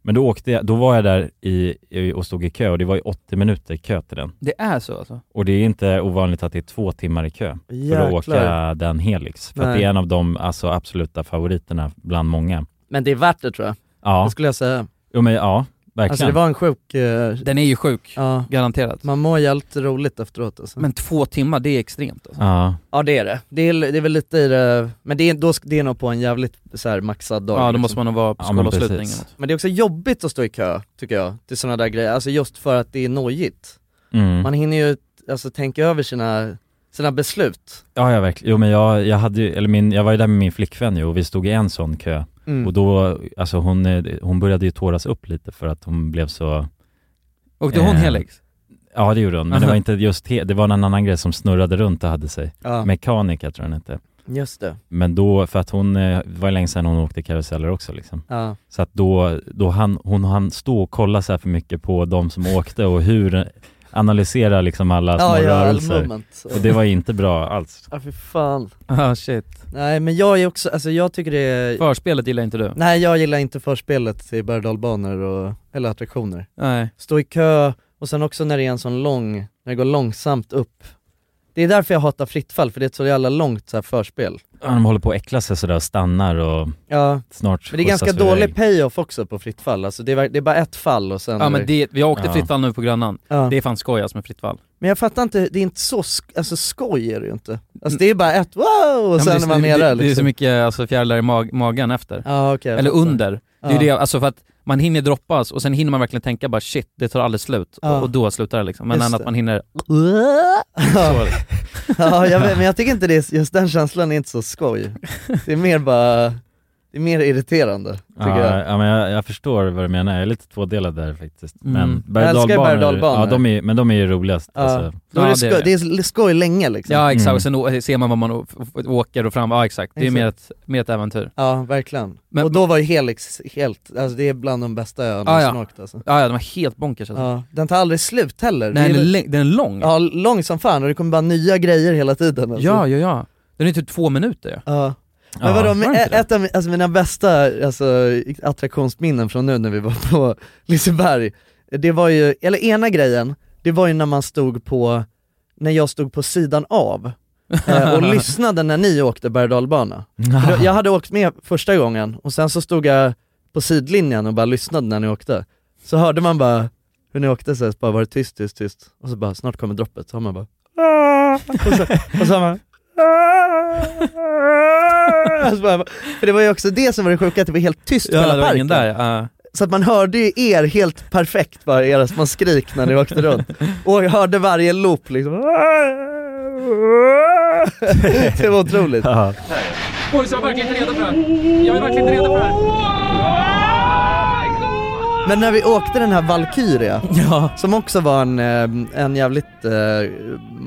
Speaker 3: Men då åkte jag, då var jag där i, i, och stod i kö och det var ju 80 minuter kö till den.
Speaker 4: Det är så alltså?
Speaker 3: Och det är inte ovanligt att det är två timmar i kö för
Speaker 2: Jäklar.
Speaker 3: att åka den Helix. För att
Speaker 2: Nej.
Speaker 3: det är en av de alltså, absoluta favoriterna bland många.
Speaker 2: Men det är värt det tror jag.
Speaker 3: Ja.
Speaker 2: Det skulle jag säga.
Speaker 3: Jo men ja, verkligen.
Speaker 2: Alltså det var en sjuk... eh,
Speaker 4: Den är ju sjuk, garanterat.
Speaker 2: Man mår jävligt roligt efteråt alltså.
Speaker 4: Men två timmar, det är extremt alltså.
Speaker 3: Ja.
Speaker 2: Ja det är det. Det är, det är väl lite i det, men det är, då, ska- det är nog på en jävligt så här, maxad dag liksom.
Speaker 4: Ja, då måste man nog vara på Ja, men skolavslutning precis. eller något.
Speaker 2: Men det är också jobbigt att stå i kö, tycker jag, till sådana där grejer, alltså just för att det är nojigt
Speaker 3: Mm.
Speaker 2: Man hinner ju alltså, tänka över sina, sina beslut
Speaker 3: Ja, ja verkligen. Jo men jag, jag hade ju, eller min, jag var ju där med min flickvän ju och vi stod i en sån kö.
Speaker 2: Mm.
Speaker 3: Och då, alltså hon, eh, hon började ju tåras upp lite för att hon blev så...
Speaker 4: Åkte hon Helix?
Speaker 3: Ja det gjorde hon, men det
Speaker 2: Alltså-
Speaker 4: Aha.
Speaker 3: var inte just he- det var en annan grej som snurrade runt och hade sig.
Speaker 2: Ja.
Speaker 3: Mekanika tror jag inte.
Speaker 2: Just det.
Speaker 3: Men då, för att hon, eh, det var länge sedan hon åkte karuseller också liksom.
Speaker 2: Ja.
Speaker 3: Så att då, då han, hon hann stå och kolla så här för mycket på de som åkte och hur, analysera liksom alla
Speaker 2: Ja,
Speaker 3: små
Speaker 2: ja, all
Speaker 3: rörelser.
Speaker 2: moment. alltså.
Speaker 3: Och det var ju inte bra alls.
Speaker 2: Ja för fan
Speaker 4: Ah shit.
Speaker 2: Nej men jag är också, alltså jag tycker det är
Speaker 4: Förspelet gillar inte du?
Speaker 2: Nej jag gillar inte förspelet till berg och dalbanor och, eller attraktioner
Speaker 4: Nej.
Speaker 2: Stå i kö, och sen också när det är en sån lång, när det går långsamt upp Det är därför jag hatar fritt fall, för det är ett så jävla långt så här förspel
Speaker 3: Ja, De håller på att äckla sig sådär och stannar och
Speaker 2: Ja,
Speaker 3: snart
Speaker 2: men det är ganska
Speaker 3: skjutsas vi iväg.
Speaker 2: dålig payoff också på fritt fall, alltså det är, ver- det är bara ett fall och sen
Speaker 4: Ja men det, vi åkte
Speaker 2: Ja.
Speaker 4: fritt fall nu på Grönan.
Speaker 2: Ja.
Speaker 4: Det är fan skoj alltså med fritt fall.
Speaker 2: Men jag fattar inte, det är inte så, sk- alltså skoj är det ju inte Alltså det är bara ett wow
Speaker 4: Mm. Ja,
Speaker 2: och
Speaker 4: men
Speaker 2: sen
Speaker 4: det,
Speaker 2: är man
Speaker 4: det- det, det
Speaker 2: nere
Speaker 4: är så
Speaker 2: liksom.
Speaker 4: mycket alltså, fjärilar i mag, magen efter.
Speaker 2: Ja, okej, jag
Speaker 4: Eller
Speaker 2: fattar.
Speaker 4: under. Det är
Speaker 2: Ja.
Speaker 4: ju det, alltså för att man hinner droppas och sen hinner man verkligen tänka bara shit, det tar aldrig slut.
Speaker 2: Ja.
Speaker 4: Och, och då slutar det liksom. Men
Speaker 2: Just
Speaker 4: än
Speaker 2: det.
Speaker 4: att man hinner...
Speaker 2: Ja. ja, jag vet, men jag tycker inte det, är- just den känslan är inte så skoj Det är mer bara, det är mer irriterande tycker
Speaker 3: Ja,
Speaker 2: jag
Speaker 3: ja men jag, jag förstår vad du menar, jag är lite tvådelad där faktiskt.
Speaker 2: Mm.
Speaker 3: Men
Speaker 2: Jag älskar
Speaker 3: berg-dalbanor-
Speaker 2: berg-dalbanor.
Speaker 3: ja, de är, men de är ju roligast.
Speaker 2: Ja.
Speaker 3: Alltså.
Speaker 2: Då är det, skoj, det är s- skoj länge liksom
Speaker 4: Ja exakt,
Speaker 2: Mm.
Speaker 4: och sen å- ser man vad man å- f- åker och fram, ja exakt. Det är ju mer ett, mer ett äventyr.
Speaker 2: Ja, verkligen. och då var ju Helix helt, alltså det är bland de bästa jag
Speaker 4: Ja,
Speaker 2: någonsin
Speaker 4: ja.
Speaker 2: åkt alltså.
Speaker 4: ja, ja, de var helt bonkers alltså.
Speaker 2: Ja, den tar aldrig slut heller.
Speaker 4: Nej,
Speaker 2: Det
Speaker 4: den är
Speaker 2: väl-
Speaker 4: läng- den är lång.
Speaker 2: Ja, lång som fan och det kommer bara nya grejer hela tiden alltså.
Speaker 4: Ja, ja, ja. Den är typ två minuter.
Speaker 2: Ja. Men vadå, men e- ett av mi- alltså mina bästa alltså, attraktionsminnen från nu när vi var på Liseberg, det var ju, eller ena grejen, det var ju när man stod på, när jag stod på sidan av eh, och lyssnade när ni åkte berg och dalbana. För då- Jag hade åkt med första gången och sen så stod jag på sidlinjen och bara lyssnade när ni åkte. Så hörde man bara hur ni åkte, så här, bara var det tyst, tyst, tyst, och så bara snart kommer droppet, så har man bara och så, och så har man Alltså bara- För det var ju också det som var det sjuka, att det var helt tyst på
Speaker 4: Ja,
Speaker 2: hela
Speaker 4: det var
Speaker 2: parken.
Speaker 4: ingen där, ja.
Speaker 2: Så att man hörde ju er helt perfekt, bara era små skrik när ni åkte runt. Och jag hörde varje loop liksom. Det var otroligt.
Speaker 3: Ja.
Speaker 11: Boys, jag är verkligen inte redo för det här. Jag är verkligen inte redo för det här.
Speaker 2: Men när vi åkte den här Valkyria, som också var en, eh, en jävligt eh,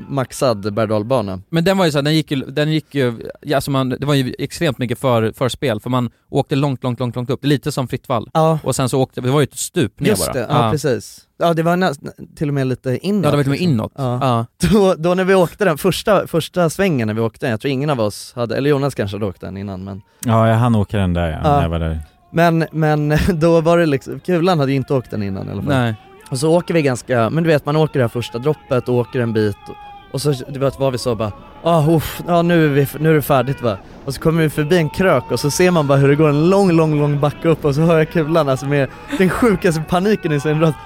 Speaker 2: maxad berg och
Speaker 4: Men den var ju så här, den gick ju, den gick ju ja, alltså man, det var ju extremt mycket för, förspel för man åkte långt, långt, långt, långt upp. Det är lite som fritt fall.
Speaker 2: Ja.
Speaker 4: Och sen så åkte, det var ju ett stup ner
Speaker 2: Just
Speaker 4: bara.
Speaker 2: det, ja, precis. Ja det var nästan, till och med lite inåt.
Speaker 4: Ja, det var till och med inåt.
Speaker 2: Liksom. Ja.
Speaker 4: Ja.
Speaker 2: Då, då när vi åkte den, första, första svängen när vi åkte den, jag tror ingen av oss hade, eller Jonas kanske hade åkt den innan men
Speaker 3: Ja, jag hann åka den där ja,
Speaker 2: Ja.
Speaker 3: när jag var där.
Speaker 2: Men, men då var det liksom, kulan hade ju inte åkt den innan i alla fall.
Speaker 4: Nej.
Speaker 2: Och så åker vi ganska, men du vet man åker det här första droppet och åker en bit Och så du vet, var vi så bara ah, uff, ja nu är, vi, nu är det färdigt va. Och så kommer vi förbi en krök och så ser man bara hur det går en lång, lång, lång backe upp och så hör jag kulan alltså med den sjukaste paniken i sin röst.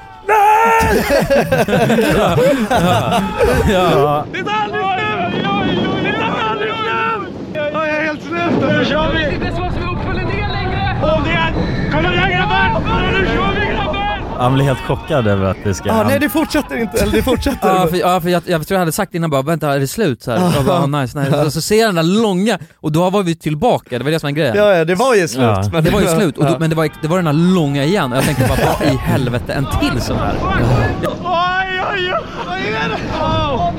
Speaker 11: Ja. Det tar aldrig slut! Det tar aldrig slut! Jag är helt slut! Nu kör vi! Det är så som upp eller ner längre! Om det är... Kolla där grabbar! Kolla, Nu kör vi grabbar!
Speaker 3: Han blir helt chockad över att det ska...
Speaker 2: ah, nej det fortsätter inte, eller det fortsätter.
Speaker 4: Ja för, ja, för jag, jag tror jag hade sagt innan bara vänta är det slut? Så här. Jag bara, oh, nice, nice. Och så ser jag den där långa, och då var vi tillbaka, det var det som var grejen.
Speaker 2: Ja, ja, det var ju slut,
Speaker 4: Ja.
Speaker 2: men-
Speaker 4: det var ju slut, och då,
Speaker 2: Ja.
Speaker 4: men det var, det var den där långa igen och jag tänkte bara vad i helvete, en till sån här?
Speaker 11: Oj, oj, oj! Vad är det? Oh.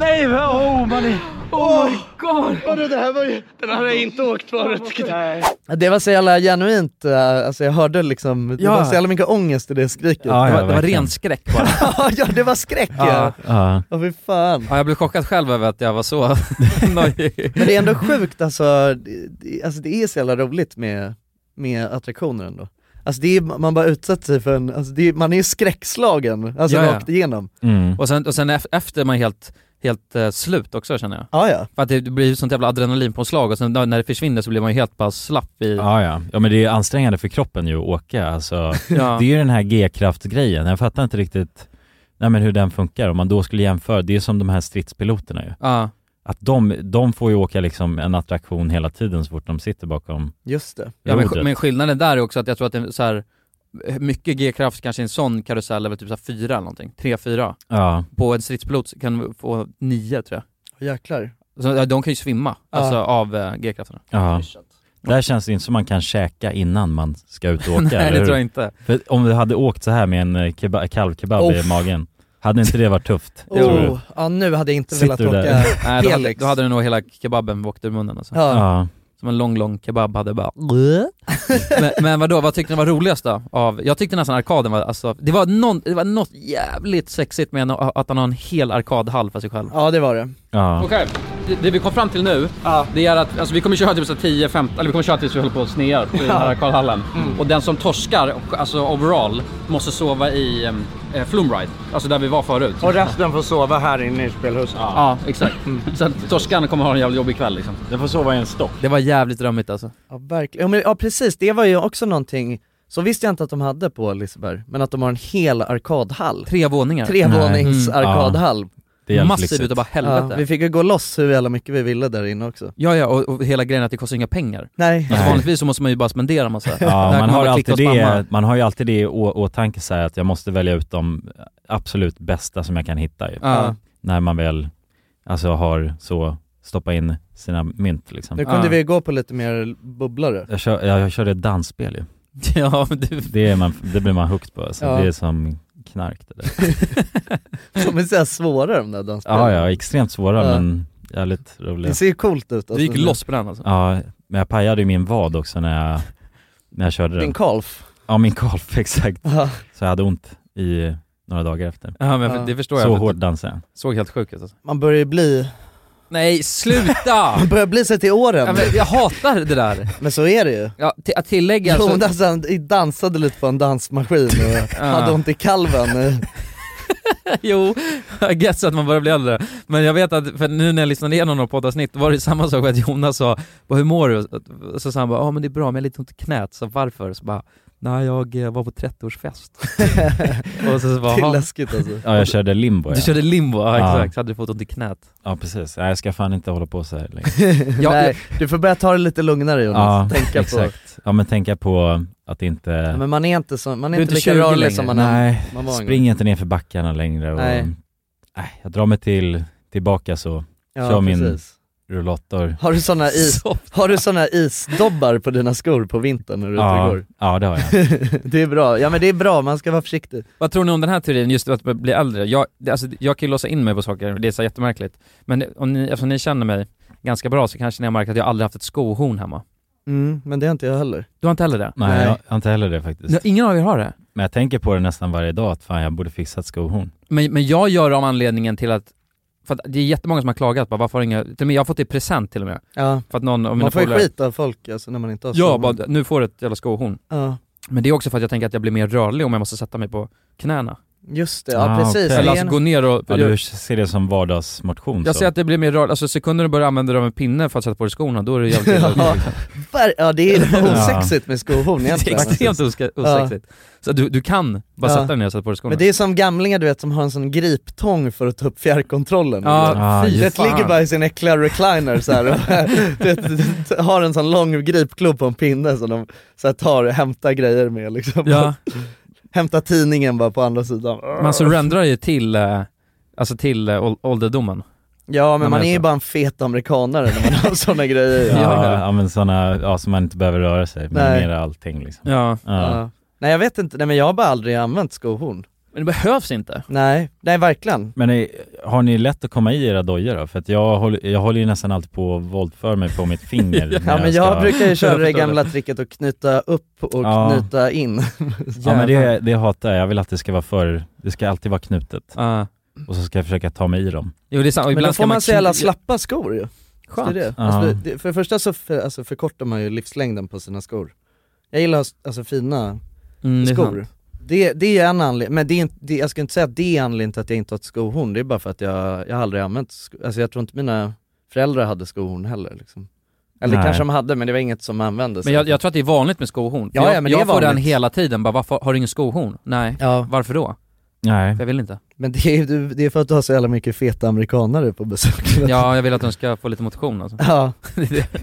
Speaker 11: Nej, vad- oh mannen! Oh my god! Hörru, det här var ju... Den här har jag inte åkt förut. Nej.
Speaker 2: Det var så jävla genuint, eh, alltså jag hörde liksom, det
Speaker 11: Ja.
Speaker 2: var så jävla mycket ångest i det skriket.
Speaker 4: Ja, ja, Det var- det var verkligen. ren skräck bara.
Speaker 2: ja det var skräck
Speaker 4: Ja.
Speaker 2: ja.
Speaker 4: Ja.
Speaker 2: Ja fy fan.
Speaker 4: Ja, jag blev chockad själv över att jag var så nojig.
Speaker 2: Men det är ändå sjukt alltså, det- det- alltså det är så jävla roligt med, med attraktioner ändå. Alltså det är, man bara utsätter sig för en, alltså det är, man är ju skräckslagen, alltså
Speaker 4: Ja, ja.
Speaker 2: rakt igenom.
Speaker 3: mm.
Speaker 4: Och sen, och sen ef- efter är man helt, helt eh, slut också känner jag.
Speaker 2: Ja, ja.
Speaker 4: För att det blir ju sånt jävla adrenalinpåslag och sen när när det försvinner så blir man ju helt bara slapp i...
Speaker 3: Ja, ja. ja, men det är ansträngande för kroppen ju att åka. Alltså,
Speaker 4: Ja.
Speaker 3: Det är ju den här G-kraftgrejen. Jag fattar inte riktigt nej, men hur den funkar. Om man då skulle jämföra, det är som de här stridspiloterna ju.
Speaker 4: Ja.
Speaker 3: Att de, de får ju åka liksom en attraktion hela tiden så fort de sitter bakom
Speaker 2: Just det.
Speaker 4: Ja, men, sk-
Speaker 3: rodret.
Speaker 4: men skillnaden där är också att jag tror att det är så här, mycket G-kraft kanske i en sån karusell är väl typ så här fyra eller någonting, tre, fyra.
Speaker 3: Ja.
Speaker 4: På en stridspilot kan du få nio tror
Speaker 2: jag. Jäklar.
Speaker 4: Så, ja, de kan ju svimma,
Speaker 2: Ja.
Speaker 4: alltså av eh, G-krafterna.
Speaker 3: Ja. Där känns det inte som man kan käka innan man ska ut och åka.
Speaker 4: Nej, det
Speaker 3: eller hur?
Speaker 4: tror jag inte.
Speaker 3: För om du hade åkt så här med en eh, keba- kalvkebab i
Speaker 2: Uff.
Speaker 3: magen, hade inte det varit tufft? tror du?
Speaker 2: Oh, ja nu hade jag inte
Speaker 3: Sitter
Speaker 2: velat
Speaker 3: du där?
Speaker 2: åka
Speaker 4: Nej, då, hade,
Speaker 2: Helix.
Speaker 4: då hade du nog hela kebaben åkt ur munnen alltså.
Speaker 2: Ja. Mm.
Speaker 3: Ja.
Speaker 4: Som en lång, lång kebab hade bara... men, men vadå, vad tyckte ni var roligast då? Av, jag tyckte nästan arkaden var, alltså, det var, någon, det var något jävligt sexigt med en, att han har en hel arkadhall för sig själv.
Speaker 2: Ja det var det.
Speaker 3: Ja.
Speaker 9: Okej, det, det vi kom fram till nu, det är att alltså, vi kommer köra typ så 10, 15, eller vi kommer köra tills vi håller på att snear i den här
Speaker 10: Ja.
Speaker 9: Karlhallen. Och den som torskar, alltså overall, måste sova i em, eh, Flumride, alltså där vi var förut.
Speaker 10: Och
Speaker 9: resten får sova här inne i spelhuset. Ja, exakt. Så att torskarna kommer ha en jävligt jobbig kväll liksom. Den får sova i en stock.
Speaker 4: Det var jävligt drömmigt alltså.
Speaker 2: Ja, verkligen. Ja, men, ja precis, det var ju också någonting så visste jag inte att de hade på Liseberg, men att de har en hel arkadhall.
Speaker 4: Tre våningar.
Speaker 2: Trevånings
Speaker 4: Nej. Mm.
Speaker 2: arkadhall.
Speaker 4: Ja. Det är jävligt Massiv lyxigt. utav bara helvete.
Speaker 2: vi fick ju gå loss hur jävla mycket vi ville där inne också.
Speaker 4: Ja, ja, och, och hela grejen är att det kostar inga pengar.
Speaker 2: Nej.
Speaker 4: Alltså, vanligtvis så måste man ju bara spendera massa. Där kan
Speaker 3: Ja, man, har
Speaker 4: bara
Speaker 3: alltid
Speaker 4: klicka och spamma.
Speaker 3: det, man har ju alltid det i å- åtanke så här att jag måste välja ut de absolut bästa som jag kan hitta ju.
Speaker 4: Ja.
Speaker 3: När man väl alltså har så, stoppa in sina mynt liksom.
Speaker 2: Nu kunde vi ju gå på lite mer bubblare.
Speaker 3: Jag, kör, jag, jag körde ett dansspel ju.
Speaker 4: Ja, men du...
Speaker 3: det, är man, det blir man hooked på alltså.
Speaker 2: Ja.
Speaker 3: Det är som knark det där.
Speaker 2: Som är såhär svåra de där dansspelen.
Speaker 3: Ja, ja, extremt svåra
Speaker 2: Ja.
Speaker 3: men jävligt roliga.
Speaker 2: Det ser ju coolt ut. Alltså.
Speaker 4: Du gick loss på den alltså?
Speaker 3: Ja, men jag pajade ju min vad också när jag, när jag körde den.
Speaker 2: Din kalf?
Speaker 3: Ja, min kalf, exakt.
Speaker 2: Ja.
Speaker 3: Så jag hade ont i några dagar efter.
Speaker 4: Ja, men för- det förstår jag.
Speaker 3: Så
Speaker 4: för att
Speaker 3: hård
Speaker 4: du
Speaker 3: dansade jag.
Speaker 4: Såg helt sjuk ut alltså.
Speaker 2: Man börjar ju bli...
Speaker 4: Nej, sluta!
Speaker 2: Man börjar bli sig till åren.
Speaker 4: Ja, men jag hatar det där.
Speaker 2: Men så är det ju.
Speaker 4: Ja, t- att tillägga så...
Speaker 2: Jonas han dansade lite på en dansmaskin och hade ont i kalven.
Speaker 4: jo, I guess att man börjar bli äldre. Men jag vet att, för nu när jag lyssnade igenom några poddavsnitt var det samma sak att Jonas sa "Vad, “Hur mår du?” Så sa han bara “Ja men det är bra, men jag har lite ont i knät, så varför?” Så bara “Nej, jag eh, var på 30-årsfest”. och så, så bara,
Speaker 2: Det är
Speaker 4: "Jaha."
Speaker 2: läskigt alltså.
Speaker 3: Ja, jag körde limbo
Speaker 4: Du
Speaker 3: ja.
Speaker 4: körde limbo, ja, exakt. Så hade du fått ont i knät.
Speaker 3: Ja, precis. Nej, jag ska fan inte hålla på så här längre.
Speaker 4: Ja,
Speaker 2: Nej, du får börja ta det lite lugnare Jonas. Tänka på...
Speaker 3: exakt. Ja, men tänka på att inte...
Speaker 2: Ja, men man är inte, så, man är
Speaker 4: Du är
Speaker 2: inte
Speaker 4: inte
Speaker 2: lika
Speaker 4: 20
Speaker 2: rörlig
Speaker 4: längre.
Speaker 2: som man,
Speaker 3: Nej,
Speaker 2: man var en gång.
Speaker 3: spring inte ner för backarna längre och...
Speaker 2: Nej.
Speaker 3: Nej. jag drar mig till, tillbaka så.
Speaker 2: Ja,
Speaker 3: Kör min
Speaker 2: precis.
Speaker 3: rullator.
Speaker 2: Har du såna, is, har du såna isdobbar på dina skor på vintern när du är ute och
Speaker 3: Ja,
Speaker 2: går?
Speaker 3: ja, det har jag.
Speaker 2: det är bra, ja men det är bra, man ska vara försiktig.
Speaker 4: Vad tror ni om den här teorin, just att bli äldre? Jag, det- alltså, jag kan ju låsa in mig på saker, det är så här jättemärkligt. Men om ni, eftersom ni känner mig ganska bra så kanske ni har märkt att jag aldrig haft ett skohorn hemma.
Speaker 2: Mm, men det har inte jag heller.
Speaker 4: Du har inte heller det?
Speaker 3: Nej,
Speaker 2: Nej.
Speaker 3: jag har inte heller det faktiskt.
Speaker 4: Nej, Ingen av er har det?
Speaker 3: Men jag tänker på det nästan varje dag, att fan jag borde fixa ett skohorn.
Speaker 4: Men, men jag gör det av anledningen till att, för att det är jättemånga som har klagat bara, varför har inga, till och med jag har fått det i present till och med.
Speaker 2: Ja.
Speaker 4: För att någon av mina
Speaker 2: Man får ju
Speaker 4: polare-
Speaker 2: skit av folk alltså, när man inte har
Speaker 4: Ja,
Speaker 2: skor.
Speaker 4: bara, nu får du ett jävla skohorn.
Speaker 2: Ja.
Speaker 4: Men det är också för att jag tänker att jag blir mer rörlig om jag måste sätta mig på knäna.
Speaker 2: Just det, ja precis.
Speaker 3: okej.
Speaker 2: Det är
Speaker 4: Eller alltså
Speaker 2: en-
Speaker 4: gå ner och...
Speaker 3: Ja, du ser det som vardagsmotion
Speaker 4: Jag
Speaker 3: så.
Speaker 4: ser att det blir mer rörligt, alltså sekunder du börjar använda dig av en pinne för att sätta på dig skorna, då är det jävligt illa
Speaker 2: ja,
Speaker 4: ute.
Speaker 2: ver- ja, det är
Speaker 4: Ja.
Speaker 2: osexigt med skohorn
Speaker 4: Det är
Speaker 2: egentligen.
Speaker 4: extremt oska- osexigt. Så du, du kan bara
Speaker 2: Ja.
Speaker 4: sätta dig ner och sätta på dig skorna.
Speaker 2: Men det är som gamlingar du vet som har en sån griptång för att ta upp fjärrkontrollen.
Speaker 4: Ja,
Speaker 2: Du
Speaker 4: fy
Speaker 2: vet. det
Speaker 4: fan.
Speaker 2: ligger bara i sin äckliga recliner så här. och du vet, du har en sån lång gripklubb på en pinne som de så här, tar och hämtar grejer med liksom.
Speaker 4: Ja.
Speaker 2: Hämta tidningen bara på andra sidan.
Speaker 4: Man surrendrar ju till, eh, alltså till eh, ål- ålderdomen.
Speaker 2: Ja men
Speaker 4: Men
Speaker 2: man är ju
Speaker 4: alltså.
Speaker 2: bara en fet amerikanare när man har såna grejer.
Speaker 3: Ja, ja men sådana, ja som man inte behöver röra sig, men
Speaker 2: Nej.
Speaker 3: mer allting liksom.
Speaker 4: Ja.
Speaker 2: Ja. Nej jag vet inte, nej men jag har bara aldrig använt skohorn.
Speaker 4: Men det behövs inte.
Speaker 2: Nej, nej verkligen.
Speaker 3: Men är, har ni lätt att komma i era dojor då? För att jag håller, jag håller ju nästan alltid på att våldför mig på mitt finger. när
Speaker 2: Ja men jag
Speaker 3: ska-
Speaker 2: brukar ju köra det gamla tricket att knyta upp och
Speaker 3: Ja.
Speaker 2: knyta in.
Speaker 3: Ja men det, det hatar jag, jag vill att det ska vara för, det ska alltid vara knutet. Och så ska jag försöka ta mig i dem.
Speaker 4: Jo, det är sant. Och
Speaker 2: Men då
Speaker 4: ibland
Speaker 2: får
Speaker 4: ska
Speaker 2: man
Speaker 4: man
Speaker 2: så jävla
Speaker 4: kli-
Speaker 2: slappa skor ju.
Speaker 4: Skönt.
Speaker 2: Det är det.
Speaker 3: Ja.
Speaker 2: Alltså, det, för det första så för, alltså, förkortar man ju livslängden på sina skor. Jag gillar att ha s- alltså, fina
Speaker 4: Mm, det är
Speaker 2: skor.
Speaker 4: sant.
Speaker 2: Det, det är en anledning, men det är inte, det, jag skulle inte säga att det är anledningen till att jag inte har ett skohorn, det är bara för att jag, jag har aldrig använt sko, alltså jag tror inte mina föräldrar hade skohorn heller liksom. Eller
Speaker 4: Nej.
Speaker 2: kanske de hade men det var inget som användes.
Speaker 4: Men jag, jag tror att det är vanligt med skohorn. För
Speaker 2: Ja,
Speaker 4: jag
Speaker 2: ja, men det
Speaker 4: jag
Speaker 2: är
Speaker 4: får den
Speaker 2: vanligt.
Speaker 4: hela tiden, bara varför, har du ingen skohorn? Nej.
Speaker 2: Ja.
Speaker 4: Varför då?
Speaker 3: Nej.
Speaker 4: För jag vill inte.
Speaker 2: Men det är, ju- det är för att du har så jävla mycket feta amerikanare på besök.
Speaker 4: Ja, jag vill att de ska få lite motion alltså.
Speaker 2: Ja,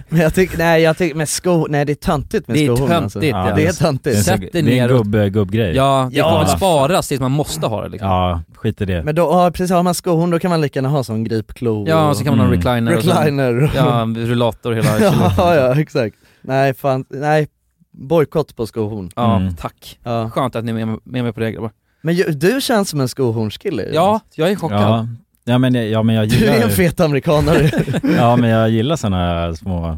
Speaker 2: men jag tycker, nej jag tycker, men sko, nej det är töntigt med
Speaker 4: Det är
Speaker 2: skohorn
Speaker 4: töntigt,
Speaker 2: alltså.
Speaker 4: ja.
Speaker 2: Det är töntigt.
Speaker 4: Sätt dig
Speaker 3: Det är
Speaker 4: ner
Speaker 3: en
Speaker 4: och...
Speaker 3: gubb, eh, gubbgrej.
Speaker 4: Ja, det får
Speaker 2: Ja.
Speaker 4: väl sparas tills man måste ha det liksom.
Speaker 3: Ja, skit i det.
Speaker 2: Men då, ja, precis, har man skohorn då kan man lika gärna ha sån gripklo
Speaker 4: Ja, och så kan man ha
Speaker 2: Mm.
Speaker 4: recliner och sen-
Speaker 2: Recliner och-
Speaker 4: Ja, rullator hela
Speaker 2: ja, ja, exakt. Nej fan, nej, bojkott på skohorn
Speaker 4: Ja,
Speaker 3: Mm.
Speaker 4: tack.
Speaker 2: Ja.
Speaker 4: Skönt att ni är med, med mig på det grabbar.
Speaker 2: Men ju- du känns som en skohornskille ju.
Speaker 4: Ja, jag är chockad.
Speaker 3: Ja, ja, men, jag- ja men jag
Speaker 2: Du
Speaker 3: gillar
Speaker 2: är en fet amerikanare.
Speaker 3: ja men jag gillar sådana små,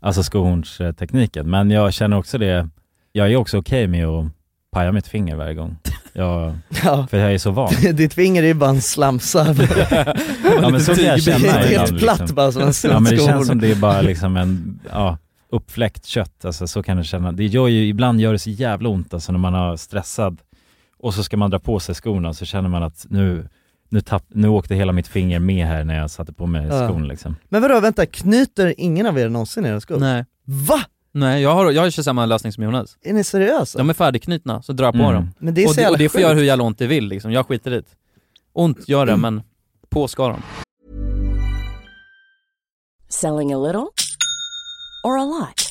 Speaker 3: alltså skohornstekniken. Men jag känner också det, jag är också okej med att paja mitt finger varje gång. Jag,
Speaker 2: Ja.
Speaker 3: För jag är så van.
Speaker 2: Ditt finger är ju bara en slamsa.
Speaker 3: Ja men så kan jag känna
Speaker 2: Det är
Speaker 3: ibland,
Speaker 2: helt platt
Speaker 3: liksom.
Speaker 2: bara som en skohorn.
Speaker 3: Ja men det känns som det är bara liksom en, ja, uppfläckt kött. Alltså så kan jag känna. Det gör ju, ibland gör det så jävla ont alltså när man är stressad och så ska man dra på sig skorna så känner man att nu, nu, tapp, nu åkte hela mitt finger med här när jag satte på mig
Speaker 2: Ja.
Speaker 3: skon liksom.
Speaker 2: Men vadå, vänta, knyter ingen av er någonsin era skor?
Speaker 4: Nej.
Speaker 2: Va?
Speaker 4: Nej, jag, har, jag kör samma lösning som Jonas.
Speaker 2: Är ni seriösa?
Speaker 4: De är färdigknutna, så drar jag på
Speaker 3: Mm.
Speaker 4: dem.
Speaker 2: Men det är
Speaker 4: och,
Speaker 2: så
Speaker 4: det,
Speaker 2: jävla
Speaker 4: och det får
Speaker 2: sjukt.
Speaker 4: göra hur jävla ont det vill liksom, jag skiter i det. Ont gör det,
Speaker 3: Mm.
Speaker 4: men på ska de.
Speaker 12: Selling a little or a lot?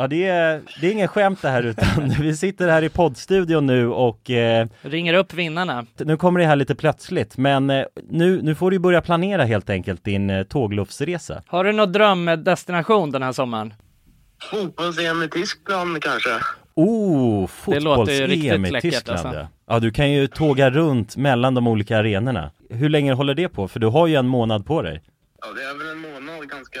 Speaker 3: Ja, det är, det är ingen skämt det här utan vi sitter här i poddstudion nu och eh,
Speaker 2: Ringer upp vinnarna.
Speaker 3: nu kommer det här lite plötsligt men eh, nu, nu får du börja planera helt enkelt din eh, tågluffsresa.
Speaker 2: Har du någon drömdestination den här sommaren?
Speaker 13: Fotbolls-EM i Tyskland kanske?
Speaker 3: Oh,
Speaker 2: Det låter ju
Speaker 3: fotbolls-EM
Speaker 2: riktigt
Speaker 3: i
Speaker 2: läckert,
Speaker 3: Tyskland
Speaker 2: alltså.
Speaker 3: ja. ja, du kan ju tåga runt mellan de olika arenorna. Hur länge håller det på? För du har ju en månad på dig.
Speaker 13: Ja, det är väl en månad ganska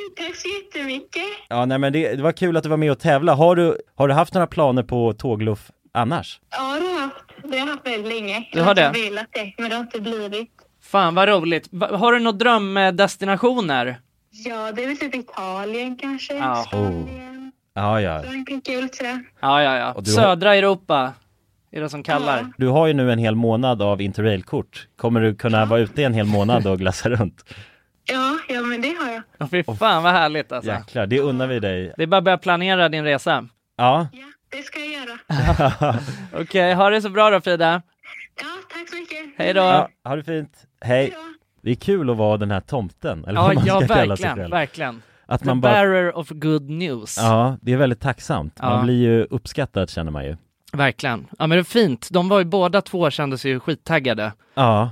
Speaker 11: så jättemycket.
Speaker 3: Ja, nej men det, det var kul att du var med och tävla. Har du, har du haft några planer på tågluff annars?
Speaker 11: Ja, det har jag haft. Det har jag haft väldigt länge.
Speaker 2: Du har det?
Speaker 11: Jag har velat det, men det har inte blivit.
Speaker 2: Fan vad roligt. Va- Har du några drömdestinationer?
Speaker 11: Ja, det är väl typ Italien kanske.
Speaker 2: Ja.
Speaker 3: Ja, ja.
Speaker 11: Frankrike, kul sådär.
Speaker 2: Ja, ja, ja.
Speaker 3: Och du har-
Speaker 2: Södra Europa är det som kallar.
Speaker 3: Du har ju nu en hel månad av interrailkort. Kommer du kunna vara ute en hel månad och glassa runt?
Speaker 11: Ja, ja, men det har jag.
Speaker 2: Ja, fy fan vad härligt alltså.
Speaker 3: Jäklar, det unnar vi dig.
Speaker 2: Det är bara att börja planera din resa.
Speaker 3: Ja.
Speaker 11: Det ska jag göra.
Speaker 2: Okej, ha det så bra då Frida.
Speaker 11: Tack så mycket.
Speaker 2: Hej då.
Speaker 3: ja ha det fint. Hej. Det är kul att vara den här tomten, eller
Speaker 2: Ja,
Speaker 3: vad man
Speaker 2: ja
Speaker 3: ska kalla sig
Speaker 2: verkligen,
Speaker 3: själv.
Speaker 2: verkligen.
Speaker 3: Att
Speaker 2: The
Speaker 3: man bara-
Speaker 2: bearer of good news.
Speaker 3: Ja, det är väldigt tacksamt.
Speaker 2: Ja.
Speaker 3: Man blir ju uppskattad känner man ju.
Speaker 2: Verkligen. Ja men det är fint. De var ju båda två kändes ju skittaggade.
Speaker 3: Ja.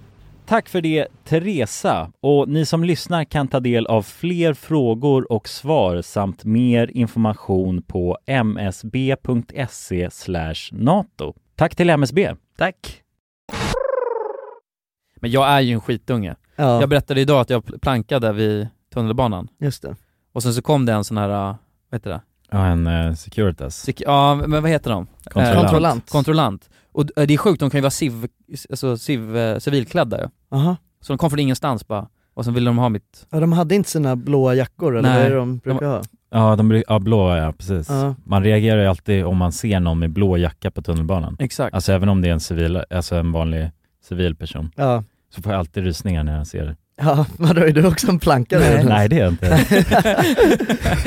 Speaker 3: Tack för det, Teresa. Och ni som lyssnar kan ta del av fler frågor och svar samt mer information på msb.se E nato. Tack till MSB.
Speaker 2: Tack.
Speaker 4: Men jag är ju en skitunge.
Speaker 2: Ja.
Speaker 4: Jag berättade idag att jag pl- plankade vid tunnelbanan.
Speaker 2: Just det.
Speaker 4: Och sen så kom det en sån här, äh, vad heter det?
Speaker 3: Ja, en eh, Securitas.
Speaker 4: Sek- ja, men vad heter de?
Speaker 3: Kontrollant.
Speaker 4: Eh,
Speaker 3: Kontrollant.
Speaker 4: Kontrollant. Och d- det är sjukt, de kan ju vara civ, alltså civ, eh, civilklädda ju.
Speaker 2: Aha.
Speaker 4: Så de kom från ingenstans bara, och sen ville de ha mitt...
Speaker 2: Ja, de hade inte sina blåa jackor eller
Speaker 4: Nej.
Speaker 2: vad är det de brukar ha?
Speaker 3: Ja, de blir, ja, blå, ja precis.
Speaker 2: Ja.
Speaker 3: Man reagerar ju alltid om man ser någon med blå jacka på tunnelbanan.
Speaker 4: Exakt.
Speaker 3: Alltså även om det är en, civil, alltså en vanlig civil person.
Speaker 2: Ja.
Speaker 3: Så får jag alltid rysningar när jag ser det.
Speaker 2: Ja, men då är du också en planka
Speaker 3: Nej,
Speaker 2: där.
Speaker 3: nej, det är jag inte.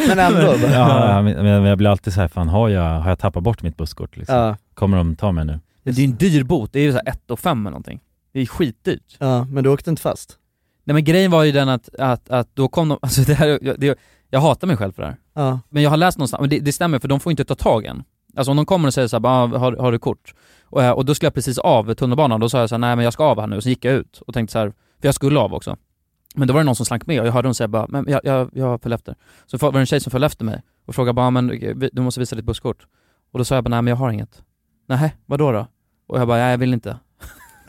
Speaker 2: men ändå. bara.
Speaker 3: Ja, men men jag blir alltid så här, fan har jag, har jag tappat bort mitt busskort liksom?
Speaker 2: Ja.
Speaker 3: Kommer de ta mig nu?
Speaker 4: Det är ju en dyr bot, det är ju såhär 1 och 5 eller någonting. Det är skitdyrt.
Speaker 2: Ja, men du åkte inte fast?
Speaker 4: Nej men grejen var ju den att, att, att då kom de, alltså det här, jag- det, jag hatar mig själv för det här.
Speaker 2: Ja.
Speaker 4: Men jag har läst någonstans, men det, det stämmer för de får inte ta tag än. Alltså om de kommer och säger såhär, bara, ah, har, har du kort? Och, eh, och då skulle jag precis av tunnelbanan, då sa jag såhär, nej men jag ska av här nu. Och så gick jag ut och tänkte såhär, för jag skulle av också. Men då var det någon som slank med och jag hörde dem säga bara, men jag, jag, jag föll efter. Så var det en tjej som föll efter mig och frågade bara, "Ah, men eh, vi- du måste visa ditt busskort. Och då sa jag bara, nej men jag har inget. Nej, vad då då? Och jag bara, nej jag vill inte.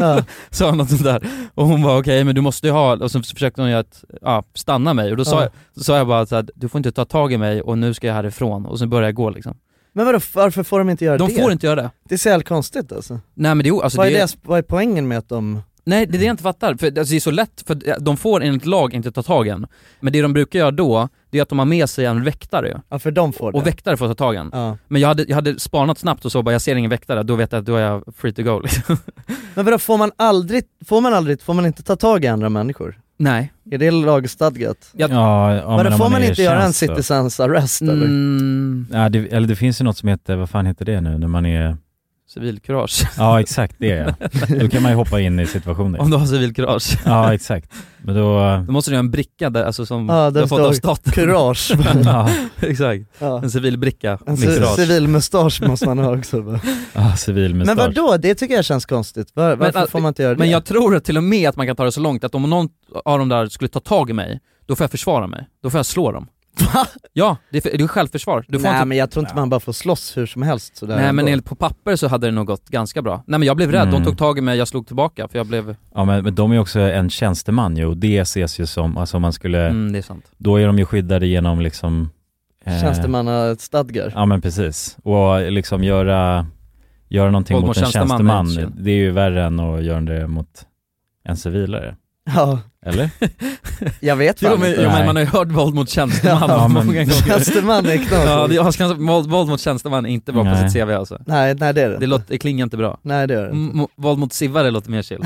Speaker 4: sa hon något sånt där. Och hon bara, okej men du måste ju ha, och så försökte hon ju att, ja, stanna mig. Och då sa,
Speaker 2: Ja.
Speaker 4: jag, så sa jag bara så här, du får inte ta tag i mig och nu ska jag härifrån. Och sen började jag gå liksom.
Speaker 2: Men vadå, varför får de inte göra
Speaker 4: De
Speaker 2: det?
Speaker 4: får inte göra det.
Speaker 2: Det är så jävla konstigt alltså.
Speaker 4: Nej men det, är o- alltså,
Speaker 2: vad, är
Speaker 4: det är-
Speaker 2: deras, vad är poängen med att de...
Speaker 4: Nej, det är det jag inte fattar. För, alltså, det är så lätt, för de får enligt lag inte ta tag i en. Men det de brukar göra då, det är att de har med sig en väktare ju.
Speaker 2: Ja för de får det.
Speaker 4: Och väktare får ta tag i en.
Speaker 2: Ja.
Speaker 4: Men jag hade, jag hade spanat snabbt och så bara, jag ser ingen väktare, då vet jag att då är jag free to go liksom.
Speaker 2: Men vadå, får man aldrig, får man aldrig, får man inte ta tag i andra människor?
Speaker 4: Nej.
Speaker 2: Är det lagstadgat?
Speaker 4: Ja,
Speaker 3: ja, ja, men
Speaker 2: vadå,
Speaker 3: om
Speaker 2: får
Speaker 3: man
Speaker 2: man
Speaker 3: är i
Speaker 2: inte göra en
Speaker 3: tjänst då?
Speaker 2: citizens arrest eller?
Speaker 4: Mm.
Speaker 3: Ja, det, eller det finns ju något som heter, vad fan heter det nu, när man är...
Speaker 4: Civilkurage.
Speaker 3: Ja, exakt det är jag. Då kan man ju hoppa in i situationer.
Speaker 4: Om du har civilkurage.
Speaker 3: Ja, exakt. Men då...
Speaker 4: Då måste du göra en bricka där, alltså som
Speaker 2: Ja,
Speaker 4: du
Speaker 2: där
Speaker 4: har fått av
Speaker 2: står
Speaker 4: staten.
Speaker 2: kurage.
Speaker 3: Ja.
Speaker 4: Exakt.
Speaker 2: Ja.
Speaker 4: En civil bricka
Speaker 2: En
Speaker 4: med
Speaker 2: ci-
Speaker 4: kurage.
Speaker 2: civil mustasch måste man ha också. va?
Speaker 3: Ja, civil
Speaker 2: men
Speaker 3: mustasch.
Speaker 2: vadå, det tycker jag känns konstigt. Var, varför
Speaker 4: att-
Speaker 2: får man inte göra det?
Speaker 4: alltså, Men jag tror att till och med att man kan ta det så långt att om någon av dem där skulle ta tag i mig, då får jag försvara mig. Då får jag slå dem. Ja, det är, för, det är självförsvar. Du får
Speaker 2: Nej
Speaker 4: inte...
Speaker 2: men jag tror inte man bara får slåss hur som helst sådär
Speaker 4: Nej men
Speaker 2: ändå.
Speaker 4: enligt på papper så hade det nog gått ganska bra. Nej men jag blev rädd,
Speaker 3: Mm.
Speaker 4: de tog tag i mig, jag slog tillbaka för jag blev...
Speaker 3: Ja, men, men de är ju också en tjänsteman ju och det ses ju som, alltså om man skulle...
Speaker 4: Mm, det är sant.
Speaker 3: Då är de ju skyddade genom liksom... eh,
Speaker 2: Tjänstemannastadgar.
Speaker 4: Eh.
Speaker 3: Ja men precis. Och liksom göra, göra någonting
Speaker 4: Våld
Speaker 3: mot,
Speaker 4: mot
Speaker 3: en
Speaker 4: tjänsteman,
Speaker 3: tjänsteman, det är ju värre än att göra det mot en civilare.
Speaker 2: Ja.
Speaker 3: Eller?
Speaker 2: Jag vet
Speaker 4: Jo
Speaker 2: fan
Speaker 4: men,
Speaker 2: inte.
Speaker 4: jo, men man har ju hört våld mot tjänsteman
Speaker 2: Ja,
Speaker 4: många
Speaker 2: men-
Speaker 4: gånger.
Speaker 2: Tjänsteman är knas.
Speaker 4: Ja, det, jag ska, våld, våld mot tjänsteman är inte bra på
Speaker 2: Nej.
Speaker 4: sitt CV alltså.
Speaker 2: Nej, nej det är det
Speaker 4: Det, Mm. låter, det klingar inte bra.
Speaker 2: Nej det gör det inte.
Speaker 4: M- mo- våld mot sivare låter mer chill.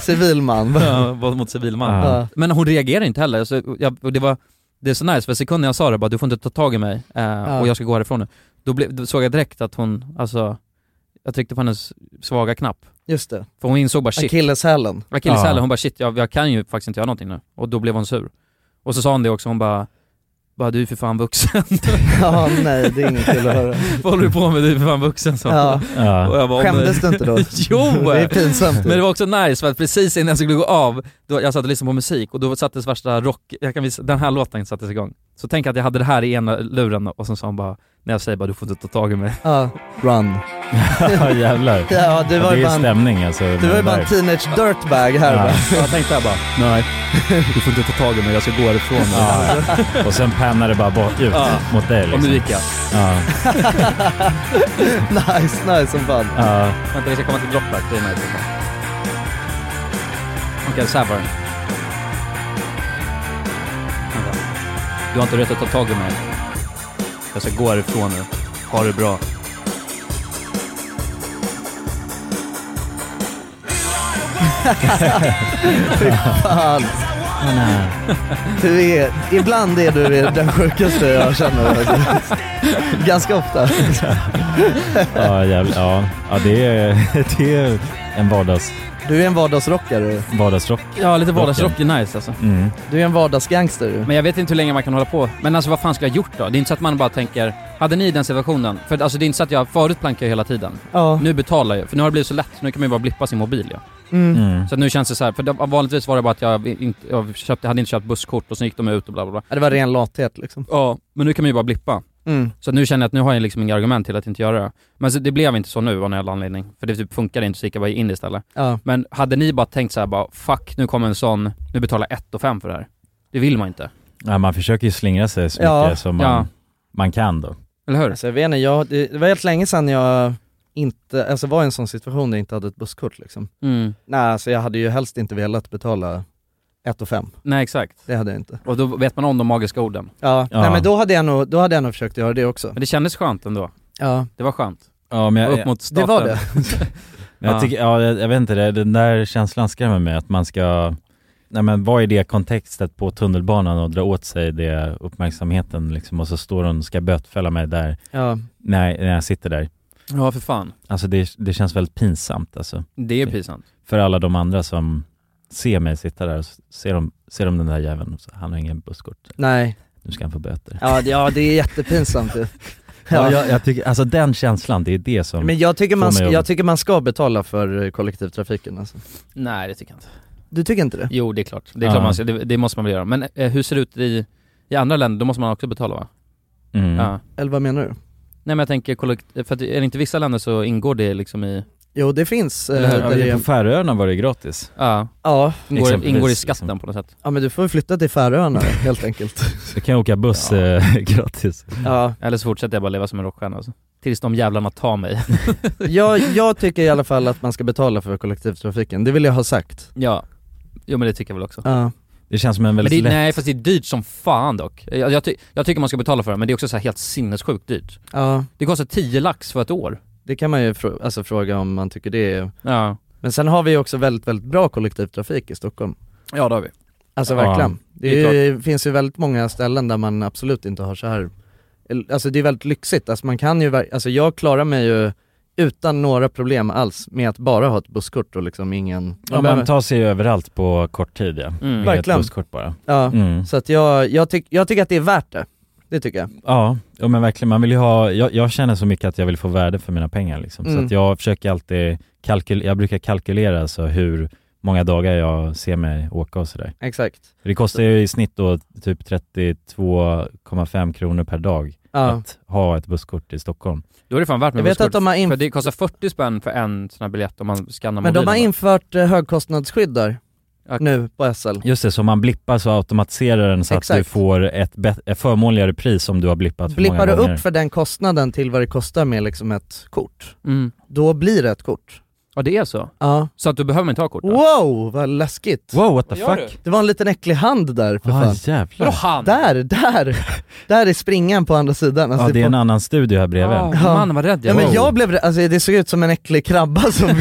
Speaker 2: Civilman.
Speaker 4: ja, våld mot civilman.
Speaker 2: Ja.
Speaker 4: Men hon reagerar inte heller. Så jag, och det, var, det är så nice, för sekunden jag sa det bara, du får inte ta tag i mig eh, och jag ska gå härifrån nu. Då, blev, då såg jag direkt att hon, alltså, jag tryckte på hennes svaga knapp.
Speaker 2: Just det.
Speaker 4: För hon insåg bara shit.
Speaker 2: Akilleshälen.
Speaker 4: Akilleshälen,
Speaker 2: Ja.
Speaker 4: hon bara shit, jag, jag kan ju faktiskt inte göra någonting nu. Och då blev hon sur. Och så sa hon det också, hon bara, bara du är för fan vuxen.
Speaker 2: Ja nej det är inget kul att höra.
Speaker 4: Vad håller du på med? Du är för fan vuxen sa hon.
Speaker 2: Ja. Ja.
Speaker 4: Och jag bara, om-
Speaker 2: Skämdes du inte då?
Speaker 4: jo!
Speaker 2: Det är pinsamt.
Speaker 4: Men det var också nice för att precis innan jag skulle gå av, då jag satt och lyssnade på musik och då sattes värsta rock, jag kan visa, den här låten sattes igång. Så tänk att jag hade det här i ena luren och sen sa hon bara När jag säger bara du får inte ta tag i mig.
Speaker 2: Ja, run.
Speaker 3: Ja jävlar.
Speaker 2: Ja, du var ju
Speaker 3: det är
Speaker 2: bara en-
Speaker 3: stämning alltså.
Speaker 2: Du var ju bara en teenage dirtbag här
Speaker 3: Ja.
Speaker 2: va?
Speaker 3: Jag tänkte jag bara,
Speaker 4: nej. Du får inte ta tag i mig, jag ska gå härifrån.
Speaker 3: Ja. Och sen pannar det bara bort ut
Speaker 4: Ja.
Speaker 3: mot dig liksom.
Speaker 4: Och nu gick jag.
Speaker 3: Ja.
Speaker 2: nice, nice som fan.
Speaker 3: Ja.
Speaker 4: Vänta, vi ska komma till droppet. Det är mig. Okej, så här var den. Vänta. Du har inte rätt att ta tag i mig. Jag ska gå härifrån nu. Ha det bra.
Speaker 2: Fy fan. Du är, ibland är du den sjukaste jag känner. Ganska ofta.
Speaker 3: Ja, jävlar. Ja. ja, det är, det är en vardags...
Speaker 2: Du är en vardagsrockare.
Speaker 3: Vardagsrock.
Speaker 4: Ja, lite vardagsrock är nice alltså.
Speaker 3: Mm.
Speaker 2: Du är en vardagsgangster ju.
Speaker 4: Men jag vet inte hur länge man kan hålla på. Men alltså vad fan skulle jag gjort då? Det är inte så att man bara tänker, hade ni den situationen? För alltså det är inte så att jag, förut plankade jag hela tiden.
Speaker 2: Ja.
Speaker 4: Nu betalar jag, för nu har det blivit så lätt. Nu kan man ju bara blippa sin mobil ja.
Speaker 2: Mm.
Speaker 4: Så att nu känns det så här, för det, vanligtvis var det bara att jag, inte, jag köpte, hade inte köpt busskort och sen gick de ut och bla bla bla.
Speaker 2: Ja, det var ren lathet liksom.
Speaker 4: Ja, men nu kan man ju bara blippa.
Speaker 2: Mm.
Speaker 4: Så att nu känner jag att nu har jag liksom inga argument till att inte göra det. Men så, det blev inte så nu av någon jävla anledning. För det typ funkade inte så gick jag bara in istället.
Speaker 2: Ja.
Speaker 4: Men hade ni bara tänkt så här bara, fuck nu kommer en sån, nu betalar jag 1 5 för det här. Det vill man inte.
Speaker 3: Ja, man försöker ju slingra sig så mycket
Speaker 2: Ja.
Speaker 3: som man,
Speaker 2: Ja.
Speaker 3: man kan då.
Speaker 4: Eller hur?
Speaker 2: Alltså, jag vet inte, jag, det, det var helt länge sedan jag inte, alltså var i en sån situation där jag inte hade ett busskort liksom.
Speaker 4: Mm.
Speaker 2: Nej, alltså jag hade ju helst inte velat betala 1 fem.
Speaker 4: Nej exakt.
Speaker 2: Det hade jag inte.
Speaker 4: Och då vet man om de magiska orden.
Speaker 2: Ja,
Speaker 4: Ja.
Speaker 2: Nej, men då hade, jag nog, då hade jag nog försökt göra det också.
Speaker 4: Men det kändes skönt ändå.
Speaker 2: Ja.
Speaker 4: Det var skönt.
Speaker 3: Ja, men jag,
Speaker 4: Upp mot
Speaker 2: Det
Speaker 4: staten.
Speaker 2: var det.
Speaker 3: Men Jag, tycker, ja, jag, jag vet inte, det, den där känslan skrämmer mig att man ska, nej men vad är det kontextet på tunnelbanan och dra åt sig det uppmärksamheten liksom och så står hon och ska bötfälla mig där,
Speaker 2: Ja.
Speaker 3: när, när jag sitter där.
Speaker 4: Ja för fan.
Speaker 3: Alltså det, det känns väldigt pinsamt alltså.
Speaker 4: Det är pinsamt.
Speaker 3: För alla de andra som ser mig sitta där och s- ser de, ser de den där jäveln och så, han har ingen busskort.
Speaker 2: Nej.
Speaker 3: Nu ska han få böter.
Speaker 2: Ja, det- ja det är jättepinsamt ju.
Speaker 3: Ja, jag, jag tycker, alltså den känslan, det är det som
Speaker 2: Men jag tycker, man,
Speaker 3: får
Speaker 2: ska-
Speaker 3: mig att-
Speaker 2: jag tycker man ska betala för eh, kollektivtrafiken alltså.
Speaker 4: Nej det tycker jag inte.
Speaker 2: Du tycker inte det?
Speaker 4: Jo det är klart. Det, är
Speaker 2: Ja.
Speaker 4: klart man ska, det, det måste man väl göra. Men eh, hur ser det ut i, i andra länder? Då måste man också betala va?
Speaker 3: Mm.
Speaker 4: Ja.
Speaker 2: Eller vad menar du?
Speaker 4: Nej men jag tänker, kollekt- för att är det inte vissa länder så ingår det liksom i...
Speaker 2: Jo det finns, eh,
Speaker 4: Eller hur?
Speaker 2: där
Speaker 4: Ja,
Speaker 2: det
Speaker 4: det
Speaker 2: är,
Speaker 3: På Färöarna var det gratis.
Speaker 4: Ja.
Speaker 2: Ja.
Speaker 4: Ingår,
Speaker 3: Exempelvis,
Speaker 4: ingår i
Speaker 3: liksom.
Speaker 4: skatten på något sätt.
Speaker 2: ja men du får ju flytta till Färöarna helt enkelt.
Speaker 3: Du kan åka buss eh, gratis.
Speaker 2: Ja.
Speaker 4: Eller så fortsätter jag bara leva som en rockstjärna alltså. Tills de jävlarna tar mig.
Speaker 2: Jag, jag tycker i alla fall att man ska betala för kollektivtrafiken, det vill jag ha sagt.
Speaker 4: ja. Jo men det tycker jag väl också.
Speaker 2: Ja.
Speaker 3: Det känns som en
Speaker 4: Men
Speaker 3: väldigt
Speaker 4: det,
Speaker 3: lätt...
Speaker 4: är- nej fast det är dyrt som fan dock. Jag, jag, ty, jag tycker man ska betala för det men det är också så här helt sinnessjukt dyrt.
Speaker 2: Ja.
Speaker 4: Det kostar 10 lax för ett år.
Speaker 2: Det kan man ju frå- alltså, fråga om man tycker det är...
Speaker 4: Ja.
Speaker 2: Men sen har vi ju också väldigt, väldigt bra kollektivtrafik i Stockholm.
Speaker 4: Ja det har vi.
Speaker 2: Alltså
Speaker 4: Ja,
Speaker 2: verkligen. Det,
Speaker 4: det är
Speaker 2: är ju, finns ju väldigt många ställen där man absolut inte har så här Alltså det är väldigt lyxigt, alltså man kan ju, ver- alltså jag klarar mig ju utan några problem alls med att bara ha ett busskort och liksom ingen
Speaker 3: Ja, man tar sig ju överallt på kort tid ja.
Speaker 4: Mm.
Speaker 3: Med
Speaker 2: Verkligen.
Speaker 3: Ett busskort bara.
Speaker 2: Ja,
Speaker 3: Mm.
Speaker 2: så att jag, jag, tyck, jag tycker att det är värt det. Det tycker jag.
Speaker 3: Ja, ja men verkligen. Man vill ju ha, jag, jag känner så mycket att jag vill få värde för mina pengar liksom. Så
Speaker 2: Mm.
Speaker 3: att jag försöker alltid kalkylera, jag brukar kalkylera alltså hur många dagar jag ser mig åka och sådär.
Speaker 2: Exakt.
Speaker 3: För Det kostar ju i snitt då typ 32,5 kronor per dag
Speaker 2: Ja.
Speaker 3: att ha ett busskort i Stockholm.
Speaker 4: Då är det fan värt med
Speaker 2: Jag vet
Speaker 4: busskort.
Speaker 2: att de har inf-
Speaker 4: För det kostar 40 spänn för en sån här biljett om man skannar
Speaker 2: Men de har
Speaker 4: mobilen.
Speaker 2: infört eh, högkostnadsskydd där, nu på SL.
Speaker 3: Just det, så om man blippar så automatiserar den så att du
Speaker 2: Exakt.
Speaker 3: får ett, bet- ett förmånligare pris om du har blippat för
Speaker 2: Blippar du
Speaker 3: många gånger.
Speaker 2: upp för den kostnaden till vad det kostar med liksom ett kort,
Speaker 4: Mm.
Speaker 2: då blir det ett kort.
Speaker 4: Ja det är så?
Speaker 2: Ja.
Speaker 4: Så att du behöver inte ha kort? då?
Speaker 2: Wow, vad läskigt!
Speaker 3: Wow, what the
Speaker 4: gör fuck? du?
Speaker 2: Det var en liten äcklig hand där för
Speaker 3: Ah,
Speaker 2: fan.
Speaker 3: jävlar.
Speaker 4: Vadå hand?
Speaker 2: Där, där! Där är springan på andra sidan. Alltså,
Speaker 3: Ja, det är
Speaker 2: på-
Speaker 3: en annan studio här bredvid.
Speaker 4: Ja. Man vad rädd
Speaker 2: Ja
Speaker 4: jag
Speaker 2: men
Speaker 4: var.
Speaker 2: jag blev rädd. alltså det såg ut som en äcklig krabba som,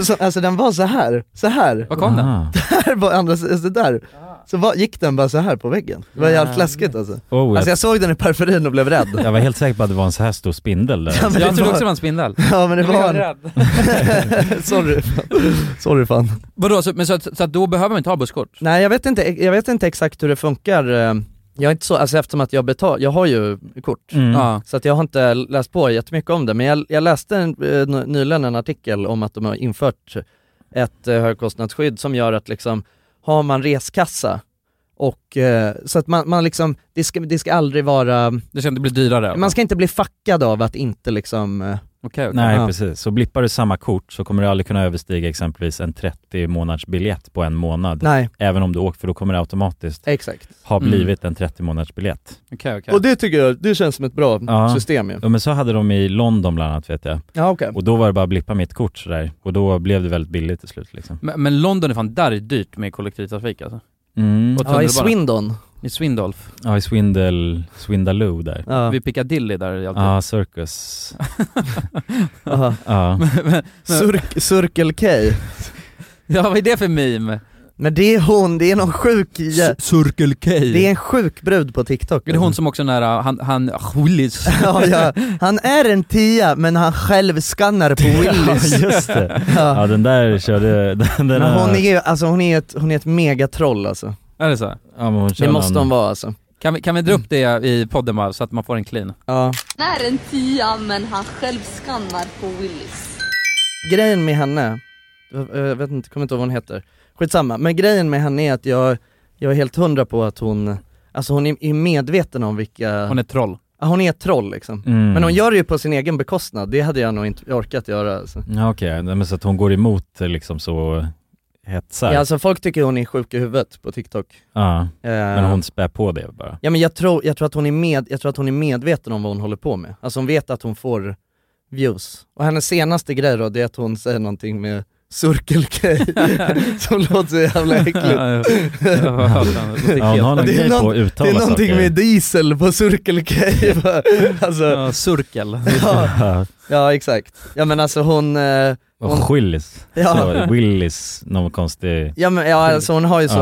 Speaker 2: som alltså den var så här, så här.
Speaker 4: Var kom den?
Speaker 3: Oh,
Speaker 2: Där var andra sidan, så där. Så var, gick den bara så här på väggen. Det var
Speaker 3: Ah.
Speaker 2: jävligt
Speaker 4: Ja.
Speaker 2: läskigt alltså.
Speaker 3: Oh,
Speaker 2: Alltså
Speaker 3: jag,
Speaker 2: jag såg den i perforin och blev rädd.
Speaker 3: jag var helt säker på att det var en så här stor spindel där.
Speaker 2: Ja, men
Speaker 4: jag
Speaker 2: det
Speaker 4: trodde
Speaker 2: var-
Speaker 4: också det var en spindel.
Speaker 2: Ja men det var en... Sorry. Sorry fan.
Speaker 4: Vadå, så, men så, att- så att då behöver man inte ha busskort?
Speaker 2: Nej jag vet, inte, jag vet inte exakt hur det funkar. eh, Jag är inte så, alltså eftersom att jag betal, jag har ju kort.
Speaker 3: Mm.
Speaker 4: Ja.
Speaker 2: Så att jag har inte läst på jättemycket om det, men jag, jag läste en, eh, n- nyligen en artikel om att de har infört ett eh, högkostnadsskydd som gör att liksom, har man reskassa Och, eh, så att man, man liksom, det ska, det ska aldrig vara...
Speaker 4: Det ska inte bli dyrare?
Speaker 2: Man ska inte bli fackad av att inte liksom... eh,
Speaker 3: Nej,
Speaker 2: ja.
Speaker 3: precis. Så blippar du samma kort så kommer du aldrig kunna överstiga exempelvis en 30 månaders biljett på en månad.
Speaker 2: Nej.
Speaker 3: Även om du åker, för då kommer det automatiskt
Speaker 2: Exakt.
Speaker 3: ha
Speaker 2: Mm.
Speaker 3: blivit en 30 månaders biljett.
Speaker 4: Okej, okej.
Speaker 2: Och det tycker jag, det känns som ett bra
Speaker 3: Ja.
Speaker 2: system ju.
Speaker 3: Ja, men så hade de i London bland annat vet jag.
Speaker 2: Ja, okej.
Speaker 3: Och då var det bara att blippa mitt kort sådär. Och då blev det väldigt billigt till slut liksom.
Speaker 4: Men, men London är fan, där är dyrt med kollektivtrafik alltså.
Speaker 3: Mm.
Speaker 4: Och
Speaker 3: Ja, i
Speaker 4: tunnelbana.
Speaker 2: Swindon.
Speaker 4: I Swindolf.
Speaker 3: Ja, i Swindle, Swindaloo där.
Speaker 4: Vid Piccadilly där är det alltid.
Speaker 3: Ja, Circus. Ja.
Speaker 2: Cirk- Circle K.
Speaker 4: ja, vad är det för meme?
Speaker 2: Men det är hon, det är någon sjuk... jä-
Speaker 4: Circle K.
Speaker 2: Det är en sjuk brud på TikTok.
Speaker 4: Det är hon som också den där, han, han, Willis.
Speaker 2: ja, ja. Han är en tia men han själv skannar på Willys.
Speaker 3: Ja, just det.
Speaker 2: Ja.
Speaker 3: Ja, den där körde... Den, den
Speaker 2: Men hon är ju, alltså hon är ett, hon är ett megatroll alltså.
Speaker 4: Är det så?
Speaker 3: Ja, men hon
Speaker 2: Det måste hon vara alltså.
Speaker 4: Kan vi, kan vi dra upp det i podden bara, så att man får en clean?
Speaker 2: Ja.
Speaker 14: Han är en tia men han själv skannar på Willys.
Speaker 2: Grejen med henne, jag jag vet inte, kommer inte ihåg vad hon heter. Skitsamma, men grejen med henne är att jag, jag är helt hundra på att hon, alltså hon är, är medveten om vilka...
Speaker 4: Hon är ett troll.
Speaker 2: Ja, hon är ett troll liksom.
Speaker 3: Mm.
Speaker 2: Men hon gör det ju på sin egen bekostnad, det hade jag nog inte orkat göra alltså.
Speaker 3: Ja, okej. Nej, Men så att hon går emot eh, liksom så hetsar.
Speaker 2: Ja, alltså folk tycker hon är sjuk i huvudet på TikTok.
Speaker 3: Ja. Men
Speaker 2: Eh,
Speaker 3: hon spär på det bara.
Speaker 2: Ja men jag tror, jag, tror att hon är med, jag tror att hon är medveten om vad hon håller på med. Alltså hon vet att hon får views. Och hennes senaste grej då, det är att hon säger någonting med Circle K, som låter så jävla äckligt.
Speaker 3: Ja, hon har någon
Speaker 2: Det är
Speaker 3: grej på
Speaker 2: någon-
Speaker 3: att uttala
Speaker 2: Det är någonting
Speaker 3: saker.
Speaker 2: med diesel på Circle K. va? alltså,
Speaker 4: ja, cirkel.
Speaker 2: ja, ja exakt. Ja men alltså hon... eh, hon
Speaker 3: Och Willis.
Speaker 2: Ja.
Speaker 3: Så, Willis, någon konstig...
Speaker 2: ja, men, ja alltså hon har ju så,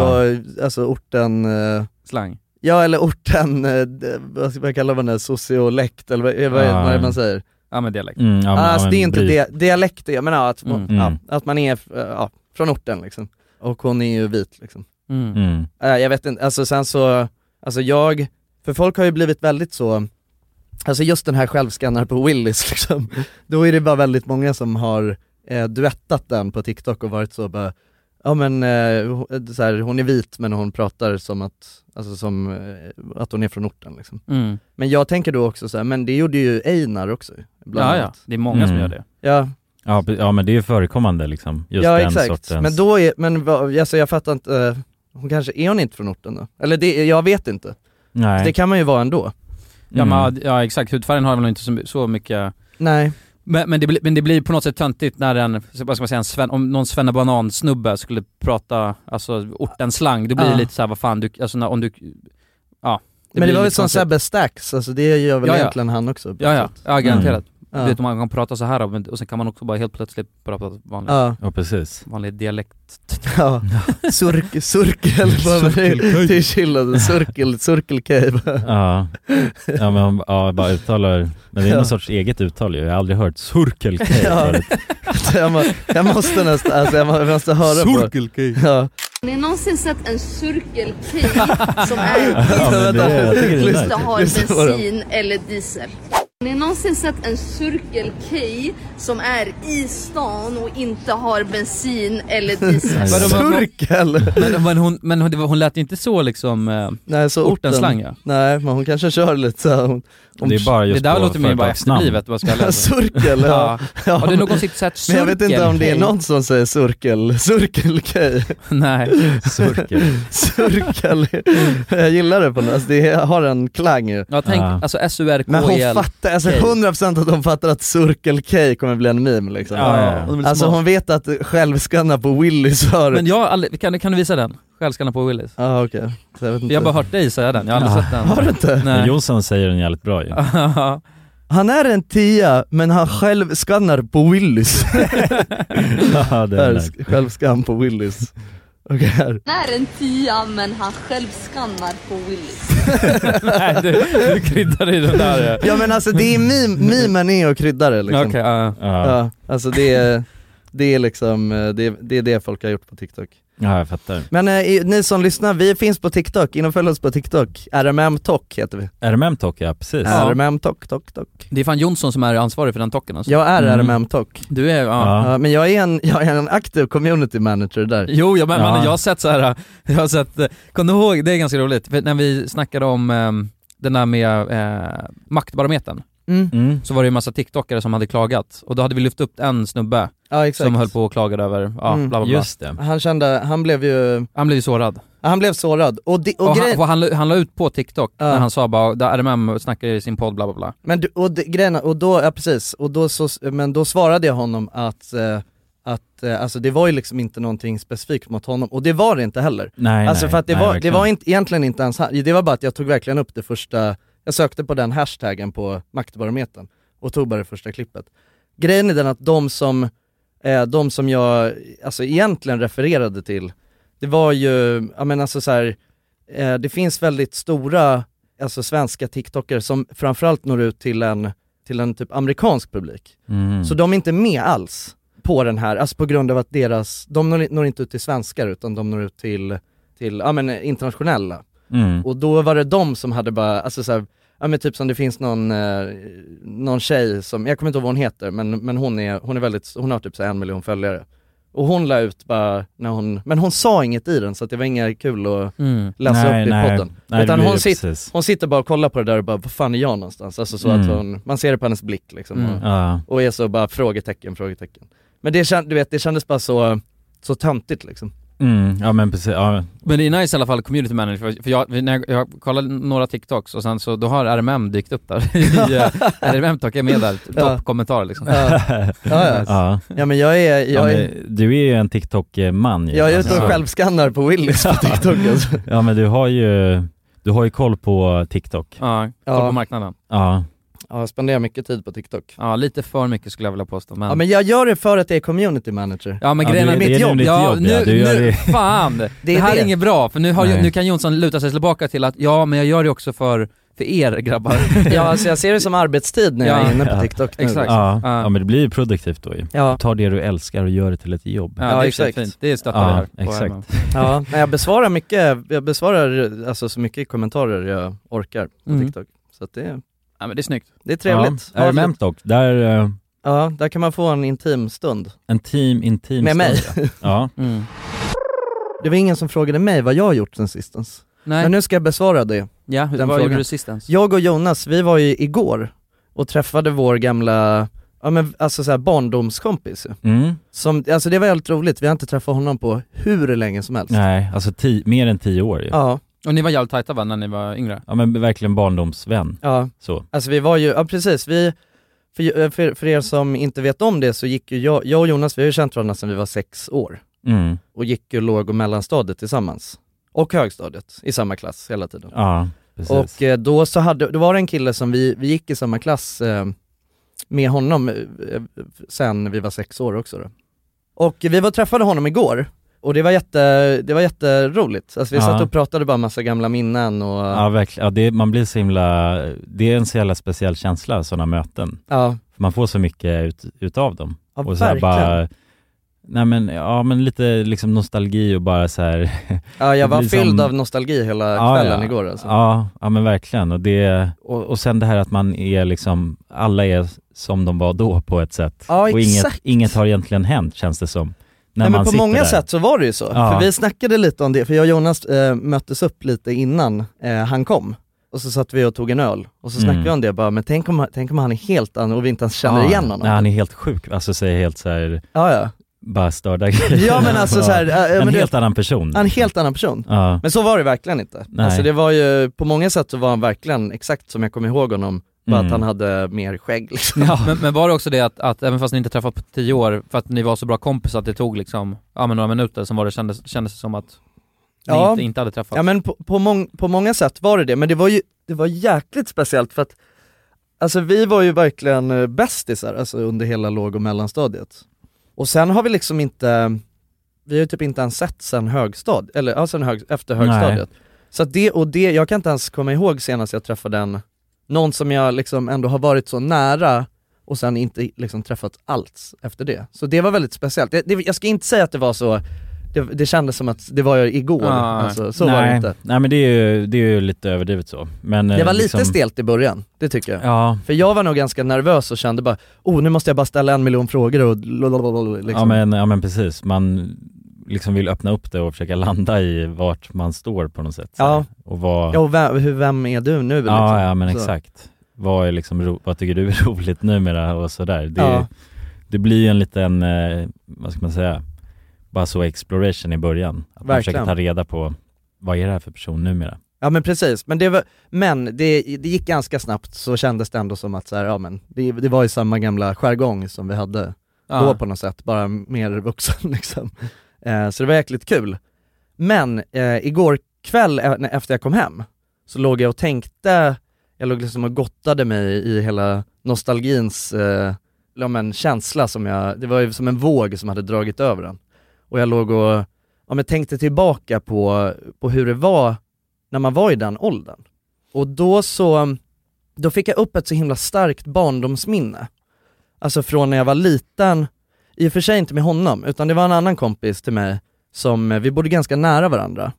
Speaker 3: Ja.
Speaker 2: alltså orten... eh,
Speaker 4: Slang.
Speaker 2: Ja eller orten, eh, d- vad ska man kalla man det, sociolekt eller vad, vad,
Speaker 3: Ja.
Speaker 2: vad är det man säger?
Speaker 4: Ja men dialekt.
Speaker 3: Mm, ja, men-
Speaker 2: alltså
Speaker 3: ja,
Speaker 2: det är
Speaker 3: men
Speaker 2: inte
Speaker 3: bry-
Speaker 2: dia- dialekt, jag menar att, man-
Speaker 3: Mm. Mm.
Speaker 2: ja, att man är eh, ja, från orten liksom. Och hon är ju vit liksom.
Speaker 4: Mm.
Speaker 3: Mm.
Speaker 2: Eh, jag vet inte, alltså sen så, alltså jag, för folk har ju blivit väldigt så, alltså just den här självskannar på Willys liksom, då är det bara väldigt många som har eh, duettat den på TikTok och varit så bara, ja men eh, ho- så här, hon är vit men hon pratar som att, alltså som, eh, att hon är från orten liksom.
Speaker 4: Mm.
Speaker 2: Men jag tänker då också så här, men det gjorde ju Einar också. bland
Speaker 4: Mm. Ja, ja.
Speaker 2: annat.
Speaker 4: Det är många som gör det.
Speaker 2: Ja,
Speaker 3: Ja, p- ja, men det är ju förekommande liksom. Just
Speaker 2: ja
Speaker 3: den
Speaker 2: exakt.
Speaker 3: sortens...
Speaker 2: Men då är, men vad- alltså jag fattar inte, eh, hon kanske, är hon inte från orten då? Eller det, jag vet inte.
Speaker 3: Nej. Mm.
Speaker 2: Så Det kan man ju vara ändå.
Speaker 4: Ja, men, ja exakt, hudfärgen har väl inte så, så mycket
Speaker 2: Nej.
Speaker 4: Men, men, det, blir- men det blir på något sätt töntigt när en, vad ska man säga, en sven, om någon svennebanan-snubbe skulle prata, alltså ortenslang, då blir det
Speaker 2: Ja.
Speaker 4: lite såhär, vad fan du, alltså när, om du, ja.
Speaker 2: men det
Speaker 4: blir
Speaker 2: var väl
Speaker 4: lite
Speaker 2: som
Speaker 4: konstigt.
Speaker 2: Sebbe Stax, alltså det gör väl
Speaker 4: Ja, ja.
Speaker 2: egentligen han också. på
Speaker 4: Ja,
Speaker 2: ett
Speaker 4: ja,
Speaker 2: sätt.
Speaker 4: ja garanterat.
Speaker 2: Ja.
Speaker 4: Du vet man kan prata så här och, men- och sen kan man också bara helt plötsligt prata vanlig,
Speaker 2: Ja.
Speaker 3: Ja, precis.
Speaker 4: vanlig dialekt.
Speaker 2: Ja, Cirk, cirkel,
Speaker 4: Cirkel K.
Speaker 2: det är chillade, cirkel, cirkel K.
Speaker 3: Ja, ja men hon ja, bara uttalar, men det är någon
Speaker 2: Ja.
Speaker 3: sorts eget uttal ju. Jag har aldrig hört Circle K
Speaker 2: Ja.
Speaker 3: förut.
Speaker 2: jag, må, jag måste nästan, alltså jag, må, jag måste höra
Speaker 3: Circle
Speaker 2: på. Ja.
Speaker 14: Har ni någonsin sett en Circle K som är
Speaker 2: Ja, men det- jag tycker det är
Speaker 14: Lyssna,
Speaker 2: nice.
Speaker 14: har
Speaker 2: Lyssna på dem.
Speaker 14: bensin eller diesel? Har ni någonsin sett en Circle K som är i stan och inte har bensin eller diesel?
Speaker 2: Cirkel!
Speaker 4: Men, men, hon, men hon, det var- hon lät ju inte så liksom, eh,
Speaker 2: Nej, så orten,
Speaker 4: ortenslang ja.
Speaker 2: Nej, men hon kanske kör lite så här, hon, hon,
Speaker 3: Det är bara just
Speaker 4: Det där
Speaker 3: på
Speaker 4: låter mer bara
Speaker 3: företagsnamn.
Speaker 4: efterblivet, vad ska jag läsa?
Speaker 2: Cirkel, ja. Ja,
Speaker 4: Har du
Speaker 2: men-
Speaker 4: någonsin sett
Speaker 2: Men
Speaker 4: cirkel?
Speaker 2: jag vet inte om det är
Speaker 4: Hej.
Speaker 2: någon som säger cirkel, cirkel K.
Speaker 4: Nej.
Speaker 3: Cirkel.
Speaker 2: cirkel, jag gillar det på något alltså det har en klang ju.
Speaker 4: Ja tänk, alltså s u r k
Speaker 2: Men hon
Speaker 4: e l
Speaker 2: fattar, alltså
Speaker 4: K.
Speaker 2: 100% att hon fattar att Circle K kommer bli en meme liksom.
Speaker 4: Ja, ja, ja. De är
Speaker 2: Alltså
Speaker 4: smart.
Speaker 2: hon vet att självskanna på Willys har...
Speaker 4: Men jag har aldrig, kan, du- kan du visa den? Självskanna på Willis.
Speaker 2: Ja ah, okej, Så jag vet inte.
Speaker 4: Jag har bara hört dig säga den, jag har aldrig sett den.
Speaker 2: Har du inte?
Speaker 3: Men Jonsson säger den jävligt bra ju.
Speaker 4: Ja.
Speaker 2: Han är en tia men han själv skannar på Willys.
Speaker 3: Ja, det är nice.
Speaker 2: Självskann på Willys. Okej, här.
Speaker 14: Han är en tia men han själv skannar på Willys.
Speaker 4: Nej du, du kryddar i den där.
Speaker 2: Ja men alltså det är meme, memen är och kryddare liksom.
Speaker 4: Okej, ja.
Speaker 2: Ja, alltså det är, det är liksom, eh, det är, det är det folk har gjort på TikTok.
Speaker 3: Ja, jag fattar.
Speaker 2: Men eh, i- ni som lyssnar, vi finns på TikTok, in och följ oss på TikTok. RMM Tok heter vi.
Speaker 3: RMM Talk, ja precis.
Speaker 2: Ja. RMM Tok, Tok, Tok.
Speaker 4: Det är fan Jonsson som är ansvarig för den tocken alltså.
Speaker 2: Jag är
Speaker 4: Mm.
Speaker 2: RMM Tok.
Speaker 4: Du är, ja.
Speaker 2: men jag är, en, jag är en aktiv community manager där.
Speaker 4: Jo, jag, men, men jag har sett så här. jag har sett, eh, kom du ihåg, det är ganska roligt, för när vi snackade om ehm, den där med eh, maktbarometern,
Speaker 2: Mm.
Speaker 4: så var det ju en massa TikTokare som hade klagat, och då hade vi lyft upp en snubbe
Speaker 2: Ja, exakt.
Speaker 4: som höll på och klagade över, ja,
Speaker 2: Mm.
Speaker 4: bla bla bla.
Speaker 2: Han kände, han blev ju...
Speaker 4: Han blev ju sårad.
Speaker 2: Han blev sårad. Och, det, och,
Speaker 4: Och,
Speaker 2: grejen-
Speaker 4: han, och han, la- han la ut på TikTok
Speaker 2: Ja.
Speaker 4: när han sa bara, där RMM snackar i sin podd bla bla bla.
Speaker 2: Men du, och det, grejen, och då, ja precis, och då så, men då svarade jag honom att, eh, att eh, alltså det var ju liksom inte någonting specifikt mot honom, och det var det inte heller.
Speaker 3: Nej,
Speaker 2: alltså
Speaker 3: nej,
Speaker 2: för att det
Speaker 3: nej,
Speaker 2: var, det
Speaker 3: verkligen.
Speaker 2: var inte, egentligen inte ens han, det var bara att jag tog verkligen upp det första, jag sökte på den hashtaggen på maktbarometern och tog bara det första klippet. Grejen är den att de som, eh, de som jag alltså egentligen refererade till, det var ju, ja men alltså så här, eh, det finns väldigt stora alltså svenska TikTokare som framförallt når ut till en, till en typ amerikansk publik.
Speaker 3: Mm.
Speaker 2: Så de är inte med alls på den här, alltså på grund av att deras, de når, når inte ut till svenskar utan de når ut till, till ja men eh, internationella.
Speaker 3: Mm.
Speaker 2: Och då var det de som hade bara, alltså så här, ja men typ som det finns någon, eh, någon tjej som, jag kommer inte ihåg vad hon heter, men, men hon är, hon är väldigt, hon har typ så här en miljon följare. Och hon la ut bara när hon, men hon sa inget i den så att det var inga kul att
Speaker 4: Mm.
Speaker 2: läsa
Speaker 3: Nej,
Speaker 2: upp i
Speaker 3: nej.
Speaker 2: podden.
Speaker 3: Nej, det
Speaker 2: Utan
Speaker 3: blir
Speaker 2: hon,
Speaker 3: det
Speaker 2: sit,
Speaker 3: precis.
Speaker 2: hon sitter bara och kollar på det där och bara, vad fan är jag någonstans? Alltså så
Speaker 3: Mm.
Speaker 2: att hon, man ser det på hennes blick liksom.
Speaker 3: Mm.
Speaker 2: Och,
Speaker 3: Ja.
Speaker 2: och är så bara frågetecken, frågetecken. Men det, känd, du vet, det kändes bara så, så töntigt liksom.
Speaker 3: Mm. Ja men precis, ja.
Speaker 4: Men det är nice i alla fall, community manager, för, för jag, när jag, jag kollade några TikToks och sen så, då har RMM dykt upp där. I, eh, RMM Talk är med där,
Speaker 2: Ja.
Speaker 4: toppkommentarer liksom.
Speaker 2: Ja. Alltså. Ja, ja.
Speaker 3: Ja.
Speaker 2: Ja, men jag är,
Speaker 3: Ja,
Speaker 2: jag
Speaker 3: men
Speaker 2: är,
Speaker 3: Du är ju en TikTok-man ju.
Speaker 2: jag är ute
Speaker 3: Alltså.
Speaker 2: och självskannar på Willys på TikTok alltså.
Speaker 3: Ja men du har ju, du har ju koll på TikTok.
Speaker 4: Ja, koll på
Speaker 2: Ja.
Speaker 4: marknaden.
Speaker 3: Ja.
Speaker 2: Ja, jag spenderar mycket tid på TikTok.
Speaker 4: Ja, lite för mycket skulle jag vilja påstå men...
Speaker 2: Ja men jag gör det för att jag är community manager.
Speaker 4: Ja men grejen
Speaker 2: det är mitt jobb.
Speaker 4: ja, nu,
Speaker 3: du gör
Speaker 4: nu,
Speaker 3: det.
Speaker 4: fan! Det,
Speaker 2: är
Speaker 4: här
Speaker 2: det.
Speaker 4: är inget bra, för nu, har, ju-
Speaker 2: Nej.
Speaker 4: nu kan Jonsson luta sig tillbaka till att ja men jag gör det också för, för er grabbar.
Speaker 2: Ja alltså jag ser det som arbetstid när jag
Speaker 4: Ja.
Speaker 2: är inne på
Speaker 4: Ja.
Speaker 2: TikTok nu.
Speaker 4: Exakt.
Speaker 3: Ja.
Speaker 4: Ja.
Speaker 3: ja men det blir ju produktivt då ju.
Speaker 2: Ja.
Speaker 3: Ta det du älskar och gör det till ett jobb.
Speaker 4: Ja, det är exakt. Fint. Det stöttar vi här. på
Speaker 3: exakt.
Speaker 4: RMM.
Speaker 2: Ja, men jag besvarar mycket, jag besvarar alltså så mycket kommentarer jag orkar på
Speaker 4: Mm.
Speaker 2: TikTok. Så att det,
Speaker 4: Ja men det är snyggt.
Speaker 2: det är trevligt.
Speaker 3: Ja. RMM dock, där, eh,
Speaker 2: Ja, där kan man få en intim stund.
Speaker 3: en team intim
Speaker 2: Med mig.
Speaker 3: stund, Ja. Ja.
Speaker 2: Mm. Det var ingen som frågade mig vad jag har gjort sen sistens.
Speaker 4: Nej.
Speaker 2: Men nu ska jag besvara det.
Speaker 4: Ja,
Speaker 2: den
Speaker 4: vad gjorde
Speaker 2: frågan.
Speaker 4: du sist ens?
Speaker 2: Jag och Jonas, vi var ju igår och träffade vår gamla, ja men alltså så här barndomskompis ju.
Speaker 3: Mm.
Speaker 2: Som, alltså det var helt roligt, vi har inte träffat honom på hur länge som helst.
Speaker 3: Nej, alltså ti- mer än tio år ju. Ja.
Speaker 2: Ja,
Speaker 4: Och ni var jävligt tajta va, när ni var yngre?
Speaker 3: men verkligen barndomsvän.
Speaker 2: ja.
Speaker 3: Så.
Speaker 2: Alltså vi var ju, ja precis, vi, för, för, för er som inte vet om det så gick ju jag, jag och Jonas, vi har ju känt varandra sedan vi var sex år.
Speaker 3: Mm.
Speaker 2: Och gick ju låg och mellanstadiet tillsammans. Och högstadiet, i samma klass hela tiden.
Speaker 3: Ja, precis.
Speaker 2: Och eh, då så hade, det var en kille som vi, vi gick i samma klass eh, med honom eh, sen vi var sex år också då. Och vi var och träffade honom igår och det var, jätte, det var jätteroligt. Alltså vi
Speaker 3: Ja.
Speaker 2: satt och pratade bara massa gamla minnen och
Speaker 3: Ja verkligen, ja, det, man blir så himla, det är en så jävla speciell känsla, sådana möten.
Speaker 2: Ja.
Speaker 3: Man får så mycket ut, utav dem.
Speaker 2: Ja,
Speaker 3: och så här
Speaker 2: verkligen.
Speaker 3: bara, nej men, ja men lite liksom nostalgi och bara så här.
Speaker 2: Ja, jag
Speaker 3: det
Speaker 2: var
Speaker 3: blir
Speaker 2: fylld
Speaker 3: som-
Speaker 2: av nostalgi hela
Speaker 3: Ja,
Speaker 2: kvällen
Speaker 3: ja.
Speaker 2: igår alltså.
Speaker 3: Ja, ja men verkligen. Och, det, och, och sen det här att man är liksom, alla är som de var då på ett sätt.
Speaker 2: Ja,
Speaker 3: och
Speaker 2: exakt.
Speaker 3: inget, inget har egentligen hänt känns det som. När
Speaker 2: Nej
Speaker 3: man
Speaker 2: men på
Speaker 3: sitter
Speaker 2: många
Speaker 3: där.
Speaker 2: sätt så var det ju så.
Speaker 3: Ja.
Speaker 2: För vi snackade lite om det, för jag och Jonas eh, möttes upp lite innan eh, han kom. Och så satt vi och tog en öl, och så snackade
Speaker 3: Mm.
Speaker 2: vi om det bara, men tänk om, tänk om han är helt annorlunda och vi inte ens känner
Speaker 3: Ja,
Speaker 2: igen honom.
Speaker 3: Nej, han är helt sjuk, alltså säger helt så här,
Speaker 2: Ja, ja.
Speaker 3: bara störda grejer.
Speaker 2: Ja, men alltså så här, äh, men
Speaker 3: en
Speaker 2: du
Speaker 3: helt
Speaker 2: vet-
Speaker 3: annan person.
Speaker 2: Han är en helt annan person.
Speaker 3: Ja.
Speaker 2: Men så var det verkligen inte.
Speaker 3: Nej.
Speaker 2: Alltså det var ju, på många sätt så var han verkligen exakt som jag kommer ihåg honom, bara
Speaker 3: Mm.
Speaker 2: att han hade mer skägg liksom.
Speaker 4: Men, men var det också det att, att även fast ni inte träffat på tio år, för att ni var så bra kompisar att det tog liksom, ja men några minuter, som var det kändes, kändes det som att ni
Speaker 2: Ja.
Speaker 4: inte, inte hade träffats?
Speaker 2: Ja men på, på, mång, på många sätt var det det, men det var ju det var jäkligt speciellt för att Alltså vi var ju verkligen eh, bästisar alltså, under hela låg och mellanstadiet. Och sen har vi liksom inte, vi har ju typ inte ens sett sen högstadiet, eller ja, sen hög, efter
Speaker 3: Nej.
Speaker 2: högstadiet. Så att det, och det, jag kan inte ens komma ihåg senast jag träffade en, någon som jag liksom ändå har varit så nära och sen inte liksom träffat alls efter det. Så det var väldigt speciellt. Det, det, jag ska inte säga att det var så det, det kändes som att det var jag igår, alltså, så
Speaker 3: Ah, nej.
Speaker 2: var det inte.
Speaker 3: Nej men det är ju, det är ju lite överdrivet så. Men,
Speaker 2: Det
Speaker 3: eh,
Speaker 2: var lite
Speaker 3: liksom-
Speaker 2: stelt i början, det tycker jag.
Speaker 3: Ja.
Speaker 2: För jag var nog ganska nervös och kände bara, oh nu måste jag bara ställa en miljon frågor och lalalala, liksom.
Speaker 3: Ja, men, ja men precis, man liksom vill öppna upp det och försöka landa i vart man står på något sätt. så
Speaker 2: Ja.
Speaker 3: här. Och vad,
Speaker 2: Ja, och vem, hur, vem är du nu liksom?
Speaker 3: ja, ja men
Speaker 2: Så.
Speaker 3: exakt. Vad, är liksom, ro- vad tycker du är roligt numera och sådär. Det,
Speaker 2: Ja.
Speaker 3: det blir ju en liten, eh, vad ska man säga, bara så exploration i början. Att man
Speaker 2: Verkligen.
Speaker 3: försöker ta reda på, vad är det här för person numera?
Speaker 2: Ja men precis, men det, var, men det, det gick ganska snabbt så kändes det ändå som att så här, ja men det, det var ju samma gamla jargong som vi hade
Speaker 1: Ja.
Speaker 2: då på något sätt, bara mer vuxen liksom. Eh, så det var jäkligt kul. Men eh, igår kväll eh, när- efter jag kom hem så låg jag och tänkte, jag låg liksom och gottade mig i hela nostalgins eh, ja, men, känsla som jag, det var ju som en våg som hade dragit över den. Och jag låg och ja, men tänkte tillbaka på, på hur det var när man var i den åldern. Och då så, då fick jag upp ett så himla starkt barndomsminne. Alltså från när jag var liten, i och för sig inte med honom, utan det var en annan kompis till mig som, eh, vi bodde ganska nära varandra.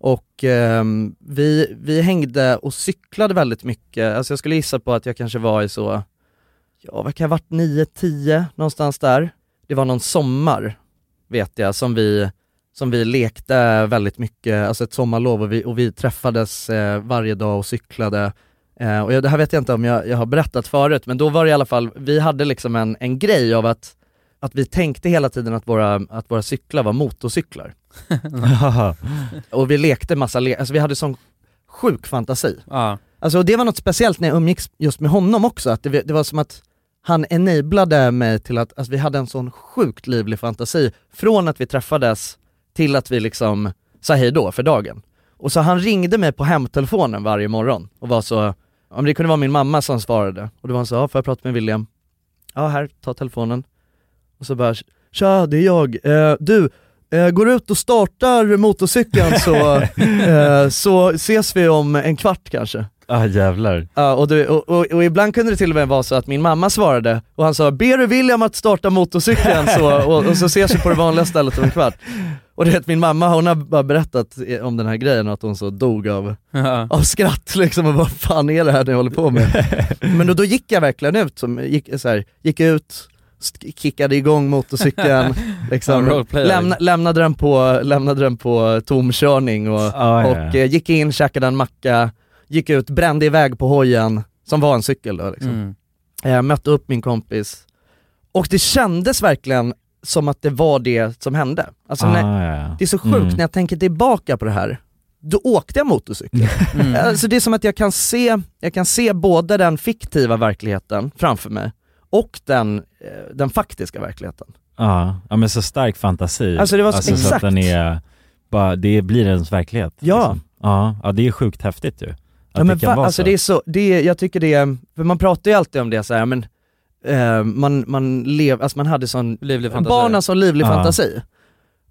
Speaker 2: Och ehm, vi, vi hängde och cyklade väldigt mycket, alltså jag skulle gissa på att jag kanske var i så, ja vad kan jag ha varit, 9-10 någonstans där. Det var någon sommar, vet jag, som vi som vi lekte väldigt mycket, alltså ett sommarlov och vi, och vi träffades eh, varje dag och cyklade. Eh, och jag, det här vet jag inte om jag, jag har berättat förut, men då var det i alla fall, vi hade liksom en, en grej av att, att vi tänkte hela tiden att våra, att våra cyklar var motorcyklar. och vi lekte massa le- alltså vi hade sån sjuk fantasi.
Speaker 1: Ja.
Speaker 2: Alltså och det var något speciellt när jag umgicks just med honom också, att det, det var som att han enablade mig till att, alltså vi hade en sån sjukt livlig fantasi, från att vi träffades till att vi liksom sa hej då för dagen. Och så han ringde mig på hemtelefonen varje morgon och var så, ja men det kunde vara min mamma som svarade, och då var han så, ja får jag prata med William? Ja här, ta telefonen. Och så bara, tja det är jag, eh, du, eh, går du ut och startar motorcykeln så, eh, så ses vi om en kvart kanske.
Speaker 3: Ah jävlar.
Speaker 2: Ja, och, du, och, och, och ibland kunde det till och med vara så att min mamma svarade och han sa ber du William att starta motorcykeln så, och, och så ses vi på det vanliga stället om en kvart. Och det vet min mamma hon har bara berättat eh, om den här grejen och att hon så dog av,
Speaker 1: Ja.
Speaker 2: av skratt liksom och vad fan är det här ni håller på med? Men då, då gick jag verkligen ut, som, gick, så här, gick ut, sk- kickade igång motorcykeln,
Speaker 1: Ja,
Speaker 2: liksom,
Speaker 1: roleplay.
Speaker 2: lämna, lämnade, den på, lämnade den på tomkörning och,
Speaker 3: ja, ja.
Speaker 2: och eh, gick in, käkade en macka, gick ut, brände iväg på hojen, som var en cykel då liksom.
Speaker 1: Mm.
Speaker 2: Eh, mötte upp min kompis och det kändes verkligen som att det var det som hände. Alltså,
Speaker 3: Ah,
Speaker 2: när,
Speaker 3: ja, ja.
Speaker 2: Det är så sjukt
Speaker 3: Mm.
Speaker 2: när jag tänker tillbaka på det här, då åkte jag motorcykel.
Speaker 3: Mm.
Speaker 2: Alltså, det är som att jag kan, se, jag kan se både den fiktiva verkligheten framför mig och den, eh, den faktiska verkligheten.
Speaker 3: Ja, ja men så stark fantasi.
Speaker 2: Alltså, det var så-
Speaker 3: så att
Speaker 2: exakt.
Speaker 3: den är, bara, det blir ens verklighet. liksom.
Speaker 2: Ja.
Speaker 3: Ja, ja det är sjukt häftigt ju. Att
Speaker 2: Ja, men
Speaker 3: det kan
Speaker 2: va,
Speaker 3: vara
Speaker 2: alltså
Speaker 3: så.
Speaker 2: det är så, det är, jag tycker det är, för man pratar ju alltid om det så här, men eh, man, man lev, alltså man hade sån,
Speaker 1: Livlig fantasi.
Speaker 2: barn har sån livlig
Speaker 1: Ja.
Speaker 2: fantasi.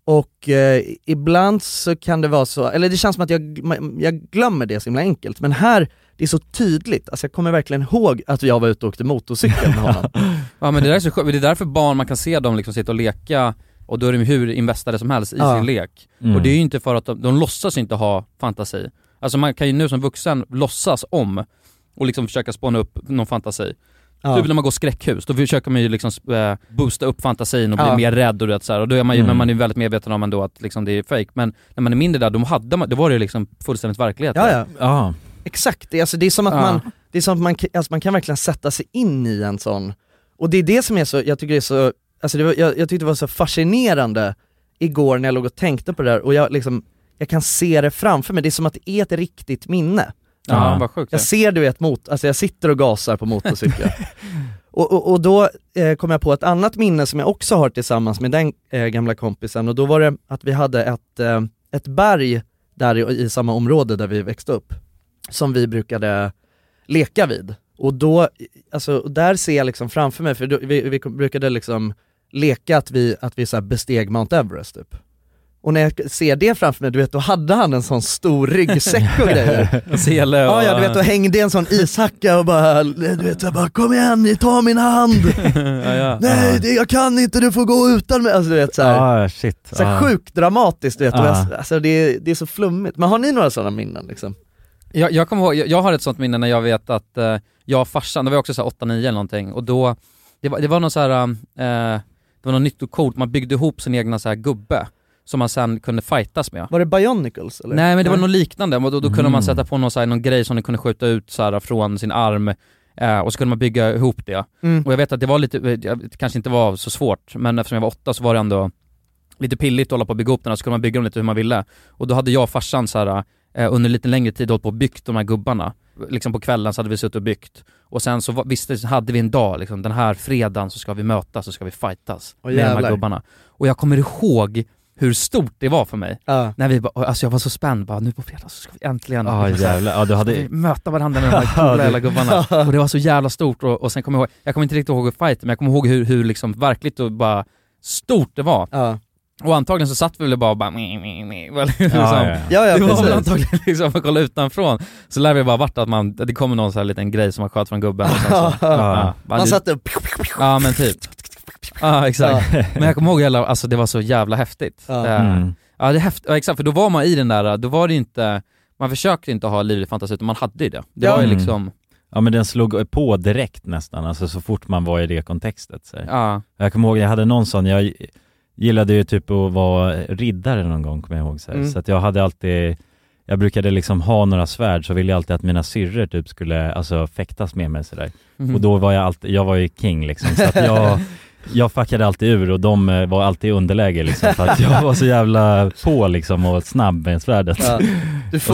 Speaker 2: Och eh, ibland så kan det vara så, eller det känns som att jag, gl- jag glömmer det så himla enkelt, men här, det är så tydligt, alltså jag kommer verkligen ihåg att jag var ute och åkte motorcykel med honom.
Speaker 1: Ja men det där är så sjukt, det är därför barn, man kan se dem liksom sitta och leka och då är de hur investade som helst i
Speaker 2: Ja.
Speaker 1: sin lek.
Speaker 2: Mm.
Speaker 1: Och det är ju inte för att de, de låtsas inte ha fantasi. Alltså man kan ju nu som vuxen låtsas om och liksom försöka spåna upp någon fantasi.
Speaker 2: Ja.
Speaker 1: Typ när man går skräckhus, då försöker man ju liksom eh, boosta upp fantasin och bli
Speaker 2: Ja.
Speaker 1: mer rädd och, du vet, så här. och då är man ju,
Speaker 2: Mm.
Speaker 1: men man är ju väldigt medveten om ändå att liksom det är fake Men när man är mindre där, då, hade man, då var det ju liksom fullständigt verklighet.
Speaker 2: Ja,
Speaker 1: där.
Speaker 2: ja. Exakt, det, är- alltså, det är som att
Speaker 1: Ja.
Speaker 2: man, det är som att man, k- alltså, man kan verkligen sätta sig in i en sån, och det är det som är så, jag tycker det är så, alltså, det var, jag, jag tyckte det var så fascinerande igår när jag låg och tänkte på det där och jag liksom, jag kan se det framför mig, det är som att det är ett riktigt minne.
Speaker 1: Ja, Ja. vad sjukt det
Speaker 2: jag
Speaker 1: är.
Speaker 2: ser du ett mot, alltså jag sitter och gasar på motorcykeln. och, och, och då eh, kom jag på ett annat minne som jag också har tillsammans med den eh, gamla kompisen och då var det att vi hade ett, eh, ett berg där i, i samma område där vi växte upp som vi brukade leka vid. Och då, alltså och där ser jag liksom framför mig, för då, vi, vi kom- brukade liksom leka att vi, att vi så här besteg Mount Everest typ. Och när jag ser det framför mig, du vet då hade han en sån stor ryggsäck och grejer.
Speaker 4: Sele och...
Speaker 2: Ja, ja du vet, då hängde en sån ishacka och bara, du vet jag bara kom igen, ni tar min hand!
Speaker 4: ja, ja.
Speaker 2: Nej det, jag kan inte, du får gå utan mig! Alltså du vet såhär,
Speaker 3: Ah, shit.
Speaker 2: så
Speaker 3: Ah.
Speaker 2: sjukt dramatiskt du vet, och
Speaker 3: Ja.
Speaker 2: jag, alltså, det, det är så flummigt. Men har ni några sådana minnen liksom?
Speaker 4: Jag, jag kommer ihåg, jag, jag har ett sånt minne när jag vet att eh, jag och farsan, det var ju också så här 8-9 eller någonting, och då, det var, det var någon så här, eh, det var något nyttokort, man byggde ihop sin egna så här gubbe som man sen kunde fightas med.
Speaker 2: Var det Bionicles eller?
Speaker 4: Nej men det var
Speaker 2: Nej.
Speaker 4: något liknande, och då, då kunde
Speaker 2: Mm.
Speaker 4: man sätta på någon, så här, någon grej som den kunde skjuta ut så här, från sin arm eh, och så kunde man bygga ihop det.
Speaker 2: Mm.
Speaker 4: Och jag vet att det var lite, eh, det kanske inte var så svårt, men eftersom jag var åtta så var det ändå lite pilligt att hålla på och bygga ihop den här, så kunde man bygga dem lite hur man ville. Och då hade jag och farsan så här, eh, under lite längre tid hållit på och byggt de här gubbarna. Liksom på kvällen så hade vi suttit och byggt. Och sen så var, visste, hade vi en dag, liksom, den här fredagen så ska vi mötas och ska vi fightas
Speaker 2: Åh,
Speaker 4: med de
Speaker 2: jävlar.
Speaker 4: här gubbarna. Och jag kommer ihåg hur stort det var för mig.
Speaker 2: Ja.
Speaker 4: När vi bara, alltså jag var så spänd bara, nu på fredag så ska vi äntligen
Speaker 3: Ja, jävlar. Ja, du hade-
Speaker 4: ska vi möta varandra med de här coola jävla gubbarna. Och det var så jävla stort och, och sen kommer jag ihåg, jag kommer inte riktigt ihåg hur fight, men jag kommer ihåg hur, hur liksom verkligt och bara stort det var. Och antagligen så satt vi väl bara och bara meh, meh, meh, var liksom.
Speaker 3: Ja, ja,
Speaker 2: ja. Ja, ja,
Speaker 4: Det var väl
Speaker 2: precis.
Speaker 4: antagligen liksom, att kolla utanifrån, så lär vi bara vart att man, det kommer någon så här liten grej som man sköt från gubben och sen så,
Speaker 2: Ja.
Speaker 4: Bara,
Speaker 2: Man
Speaker 4: du-
Speaker 2: satt upp
Speaker 4: Ja men typ. Ja exakt.
Speaker 2: Ja.
Speaker 4: Men jag kommer ihåg, jävla- alltså det var så jävla häftigt.
Speaker 2: Ja.
Speaker 4: Eh,
Speaker 2: Mm.
Speaker 4: ja det är häftigt, ja, exakt för då var man i den där, då var det inte, man försökte inte ha livlig fantasi utan man hade ju det. Det var ju
Speaker 3: Mm.
Speaker 4: liksom,
Speaker 3: Ja men den slog på direkt nästan, alltså så fort man var i det kontextet. Så. här.
Speaker 4: ja.
Speaker 3: Jag kommer ihåg, jag hade någon sån, jag gillade ju typ att vara riddare någon gång kommer jag ihåg. Så, här.
Speaker 4: Mm.
Speaker 3: så att jag hade alltid, jag brukade liksom ha några svärd så ville jag alltid att mina syrror typ skulle alltså, fäktas med mig sådär.
Speaker 4: Mhm.
Speaker 3: Och då var jag alltid, jag var ju king liksom. Så att jag, jag fuckade alltid ur och de eh, var alltid i underläge liksom. För att jag var så jävla på liksom och snabb med svärdet.
Speaker 2: Ja. Du
Speaker 3: Och så-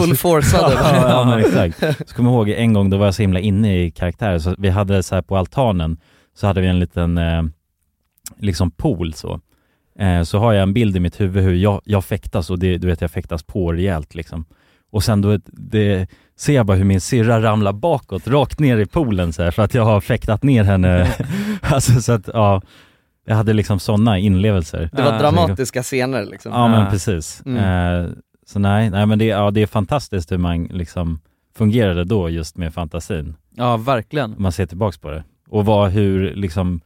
Speaker 2: full-forceade va?
Speaker 3: ja, ja, men exakt. Så kommer jag ihåg en gång, då var jag så himla inne i karaktär, så vi hade så här på altanen, så hade vi en liten eh, liksom pool så. Eh, så har jag en bild i mitt huvud hur jag, jag fäktas och det, du vet jag fäktas på rejält liksom. Och sen då det, ser jag bara hur min syrra ramlar bakåt, rakt ner i poolen så här, för att jag har fäktat ner henne. alltså så att, ja, jag hade liksom sådana inlevelser.
Speaker 2: Det var dramatiska scener liksom.
Speaker 3: Ja
Speaker 4: Ah.
Speaker 3: men precis.
Speaker 2: Mm.
Speaker 3: Eh, så nej, nej men det, ja, det är fantastiskt hur man liksom fungerade då just med fantasin.
Speaker 4: ja verkligen.
Speaker 3: Om man ser tillbaks på det. Och vad, hur liksom,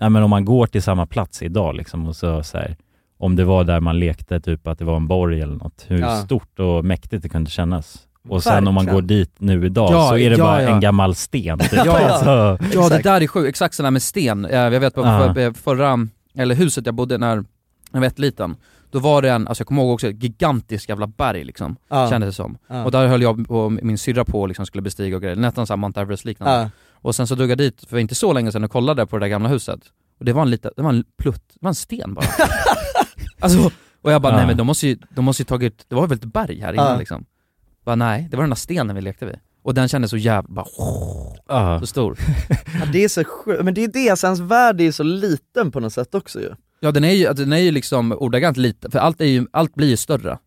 Speaker 3: nej men om man går till samma plats idag liksom och så, så här, om det var där man lekte, typ att det var en borg eller något, hur
Speaker 4: Ja.
Speaker 3: stort och mäktigt det kunde kännas. Och sen om man
Speaker 4: Verkligen.
Speaker 3: går dit nu idag
Speaker 4: Ja,
Speaker 3: så är det
Speaker 4: ja,
Speaker 3: bara
Speaker 4: ja.
Speaker 3: en gammal sten. Typ.
Speaker 4: Ja,
Speaker 3: alltså,
Speaker 4: Ja det där är sjukt, exakt sådär med sten. Eh, Jag vet på
Speaker 3: Ja.
Speaker 4: för, förra, eller huset jag bodde när jag var liten, då var det en, alltså jag kommer ihåg också, ett gigantiskt jävla berg liksom,
Speaker 2: Ja.
Speaker 4: kändes det som.
Speaker 2: Ja.
Speaker 4: Och där höll jag och min syrra på och liksom skulle bestiga och grejer, nästan såhär Mount Everest liknande.
Speaker 2: Ja.
Speaker 4: Och sen så drog jag dit för inte så länge sedan och kollade på det där gamla huset, och det var en liten, det var en plutt, det var en sten bara. alltså, och jag bara
Speaker 3: Ja.
Speaker 4: nej men de måste ju, de måste ju tagit, det var väl ett berg här innan
Speaker 2: Ja.
Speaker 4: liksom. Bara nej, det var den där stenen vi lekte vid. Och den kändes så jävla, bara,
Speaker 3: ja.
Speaker 4: så stor.
Speaker 2: Ja, det är så sjukt, men det är det, så hans värld är så liten på något sätt också ju.
Speaker 4: Ja den är ju, den är ju liksom ordagrant liten, för allt, är ju, allt blir ju större.